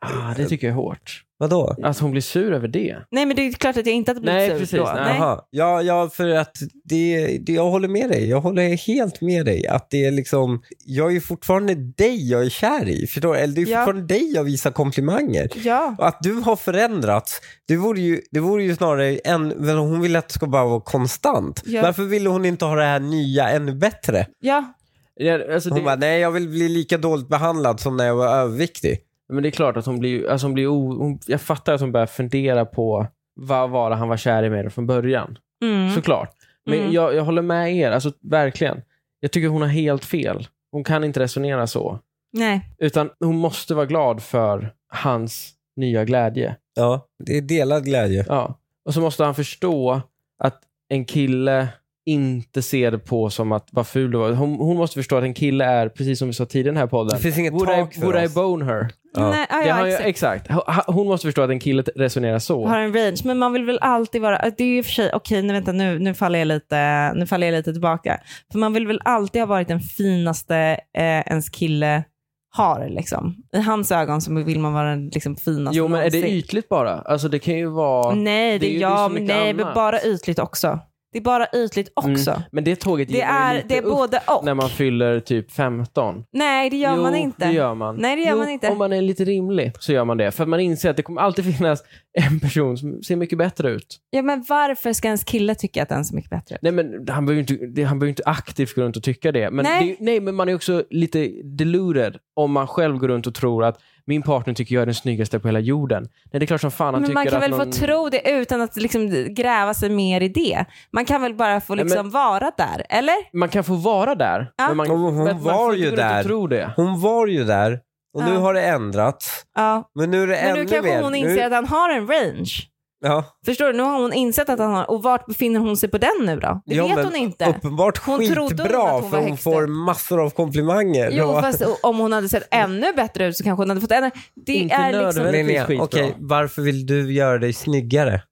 B: Ah, det tycker jag är hårt.
C: Vadå?
B: Att hon blir sur över det.
A: Nej, men det är klart att jag inte hade blivit
B: Nej,
A: sur
B: precis.
A: då.
B: Nej.
C: Jaha. Ja, ja, för att det, det, jag håller med dig. Jag håller helt med dig. Att det är liksom, jag är ju fortfarande dig jag är kär i. Förstår du? Eller det är
A: Ja.
C: fortfarande dig jag visar komplimanger.
A: Ja.
C: Och att du har förändrats, det vore ju, det vore ju snarare en, men hon ville att det ska bara vara konstant.
A: Ja.
C: Varför ville hon inte ha det här nya ännu bättre?
A: ja.
B: Ja, alltså
C: Hon
B: det
C: bara, nej jag vill bli lika dåligt behandlad som när jag var överviktig.
B: men det är klart att hon blir... Alltså hon blir o, hon, jag fattar att hon börjar fundera på vad var det han var kär i med det från början.
A: Mm.
B: Såklart. Men
A: Mm.
B: jag, jag håller med er, alltså verkligen. Jag tycker hon har helt fel. Hon kan inte resonera så.
A: Nej.
B: Utan hon måste vara glad för hans nya glädje.
C: Ja, det är delad glädje.
B: Ja. Och så måste han förstå att en kille inte ser det på som att vad ful du var. Hon, hon måste förstå att en kille är, precis som vi sa tidigare i den här podden,
C: Det finns inget
B: would,
C: tak
B: I, would
C: för
B: I
C: oss.
B: bone her?
C: Ja.
A: Nej, ja,
B: det har
A: ja,
B: jag,
A: exakt.
B: exakt. Hon- Hon måste förstå att en kille t- resonerar så.
A: Har en range, men man vill väl alltid vara, det är ju i och för sig, okej nu vänta nu, nu faller jag lite, nu faller jag lite tillbaka. För man vill väl alltid ha varit den finaste eh, ens kille har liksom. I hans ögon så vill man vara den liksom, finaste
B: Jo, men är det
A: någonsin.
B: ytligt bara? Alltså det kan ju vara...
A: Nej, det,
B: Det är ju-
A: är
B: det är så
A: jag,
B: mycket
A: nej,
B: annat.
A: men bara ytligt också. Det är bara ytligt också.
B: Men det tåget
A: Det
B: ger man ju
A: är,
B: lite
A: det är
B: upp
A: både och.
B: när man fyller typ 15.
A: Nej, det gör
B: jo,
A: man inte.
B: det gör man.
A: Nej, det gör
B: jo,
A: man inte.
B: Om man är lite rimlig så gör man det. För att man inser att det kommer alltid finnas en person som ser mycket bättre ut.
A: Ja, men varför ska ens kille tycka att den är mycket bättre?
B: Nej, men han behöver ju inte, det- han behöver ju inte aktivt gå runt och tycka det. Men
A: Nej.
B: nej. det. Nej, men man är också lite deluded om man själv går runt och tror att min partner tycker jag är den snyggaste på hela jorden. Nej, det är klart som fan han
A: Men
B: tycker
A: man kan
B: att
A: väl
B: någon...
A: få tro det utan att liksom gräva sig mer i det. Man kan väl bara få
B: Nej,
A: liksom vara där, eller?
B: Man kan få vara där.
A: Ja.
B: Men man,
C: Hon- hon
B: men man
C: var
B: får
C: ju
B: inte gå runt och
C: där.
B: Tro det.
C: Hon var ju där och nu
A: Ja.
C: har det ändrats.
A: Ja.
C: Men nu är det
A: Men
C: ännu
A: nu kanske
C: mer.
A: hon inser
C: nu,
A: att han har en range.
C: ja.
A: Förstår du? Nu har hon insett att han har, och vart befinner hon sig på den nu då? Det
C: Ja,
A: vet
C: men
A: hon inte.
C: Uppenbart
A: Hon trodde hon
C: skitbra
A: att hon var
C: för hon
A: högst
C: får
A: upp.
C: massor av komplimanger.
A: Jo,
C: Och-
A: fast om hon hade sett ännu bättre ut så kanske hon hade fått ännu... Det
B: Inte
A: är liksom...
B: nödvändigt.
C: Linnea,
B: skitbra.
C: okej, varför vill du göra dig snyggare?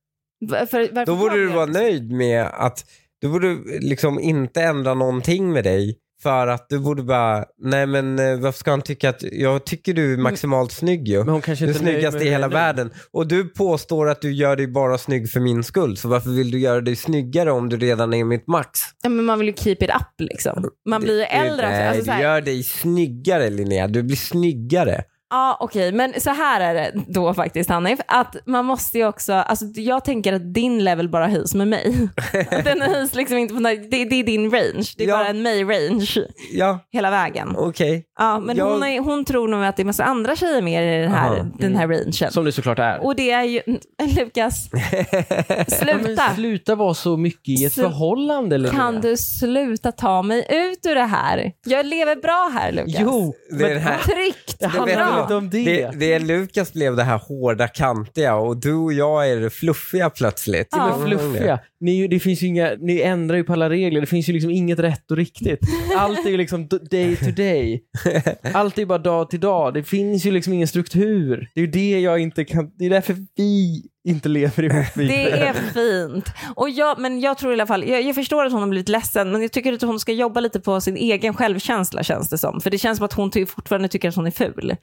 A: Varför, varför
C: Då borde
A: jag
C: du
A: det?
C: vara nöjd med att du borde liksom inte ändra någonting med dig för att du borde bara, nej men eh, varför ska han tycka att, jag tycker du
A: Mm.
C: är maximalt snygg ju.
B: Men hon kanske
C: Du är
B: inte är nöjd
C: snyggast
B: med
C: i
B: hur
C: hela
B: det är nu.
C: världen. Och du påstår att du gör dig bara snygg för min skull. Så varför vill du göra dig snyggare om du redan är i mitt max?
A: Ja, men man vill ju keep it up liksom. Man blir ju äldre.
C: Nej,
A: alltså, så här,
C: du gör dig snyggare Linnea. Du blir snyggare.
A: Ja, okej, men så här är det då faktiskt Hanif, att man måste ju också, alltså jag tänker att din level bara höjs med mig. Den höjs liksom inte på något, det, det är din range, det är
C: Ja.
A: bara en mig-range
C: Ja,
A: hela vägen.
C: okej.
A: Ja, men
C: Jag-
A: hon, är, hon tror nog att det är massa andra tjejer mer i den här,
C: Aha.
A: den här rangen.
B: Som det såklart är.
A: Och det är ju, Lukas,
B: Ja, men
A: sluta.
B: sluta vara så mycket i ett
A: Slu-
B: förhållande. Linnea.
A: Kan du sluta ta mig ut ur det här? Jag lever bra här Lukas.
B: Jo,
C: Det är det här.
A: Tryggt,
B: det handlar
A: bra.
B: väl inte om det.
C: Det, det är Lukas blev det här hårda, kantiga och du och jag är det fluffiga plötsligt.
A: Ja.
B: Men fluffiga. Ni, är ju- det finns ju inga, ni ändrar ju på alla regler. Det finns ju liksom inget rätt och riktigt. Allt är ju liksom d- day to day. Allt är bara dag till dag. Det finns ju liksom ingen struktur. Det är ju det jag inte kan... Det är därför vi inte lever ihop. Vi.
A: Det är fint. Och jag, men jag tror i alla fall, jag, jag förstår att hon har blivit ledsen, men jag tycker att hon ska jobba lite på sin egen självkänsla känns det som. För det känns som att hon ty- fortfarande tycker att hon är ful.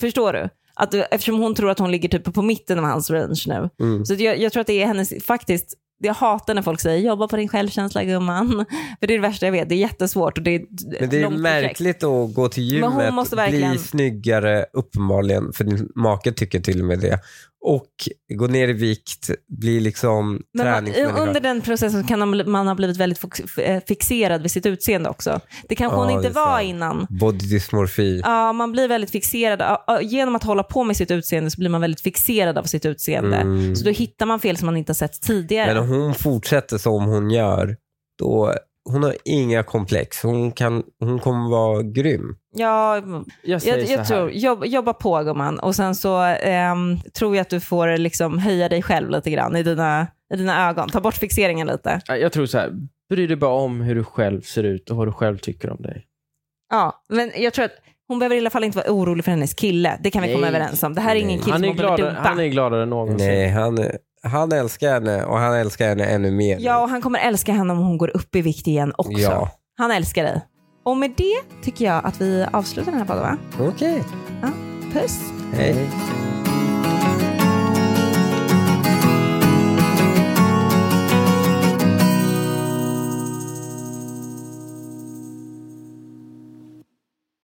A: Förstår du? Att, du- eftersom hon tror att hon ligger typ på mitten av hans range nu.
C: Mm.
A: Så att jag, jag tror att det är hennes, faktiskt, jag hatar när folk säger jobba på din självkänsla gumman. För det är det värsta jag vet, det är jättesvårt och det är ett
C: Men det är ju
A: långt projekt.
C: märkligt att gå till
A: Men
C: gymmet,
A: hon måste verkligen-
C: bli snyggare uppenbarligen, för din make tycker till och med det. Och gå ner i vikt, bli liksom
A: Men man,
C: träningsmänniska.
A: under den processen kan man- man ha blivit väldigt fox- f- eh, fixerad vid sitt utseende också. Det kanske
C: Ja,
A: hon
C: det
A: inte
C: är
A: var
C: sant.
A: innan.
C: Body dysmorfi.
A: Ja, man blir väldigt fixerad. Ja, ja, Genom att hålla på med sitt utseende så blir man väldigt fixerad av sitt utseende.
C: Mm.
A: Så då hittar man fel som man inte har sett tidigare.
C: Men om hon fortsätter som hon gör, då hon har inga komplex. Hon, kan, hon kommer vara grym.
A: Ja,
B: Jag säger
A: jag,
B: så här.
A: jag tror, jobb, jobba på gumman och sen så ehm, tror jag att du får liksom höja dig själv lite grann i dina, i dina ögon. Ta bort fixeringen lite.
B: Ja, Jag tror så här. Bry dig bara om hur du själv ser ut och vad du själv tycker om dig.
A: Ja, men jag tror att hon behöver i alla fall inte vara orolig för hennes kille. Det kan vi komma
B: Nej.
A: överens om. Det här är ingen
C: Nej.
A: kille
B: Han
A: som
B: är,
A: hon behöver
B: gladare,
A: dumpa.
B: han är gladare än
A: Mm.
B: någonsin.
C: Nej, han, han älskar henne och han älskar henne ännu mer. nu.
A: Ja, och han kommer älska henne om hon går upp i vikt igen också.
C: Ja.
A: Han älskar dig. Och med det tycker jag att vi avslutar den här podden va?
C: Okej.
A: Puss!
C: Hej.
B: Hej.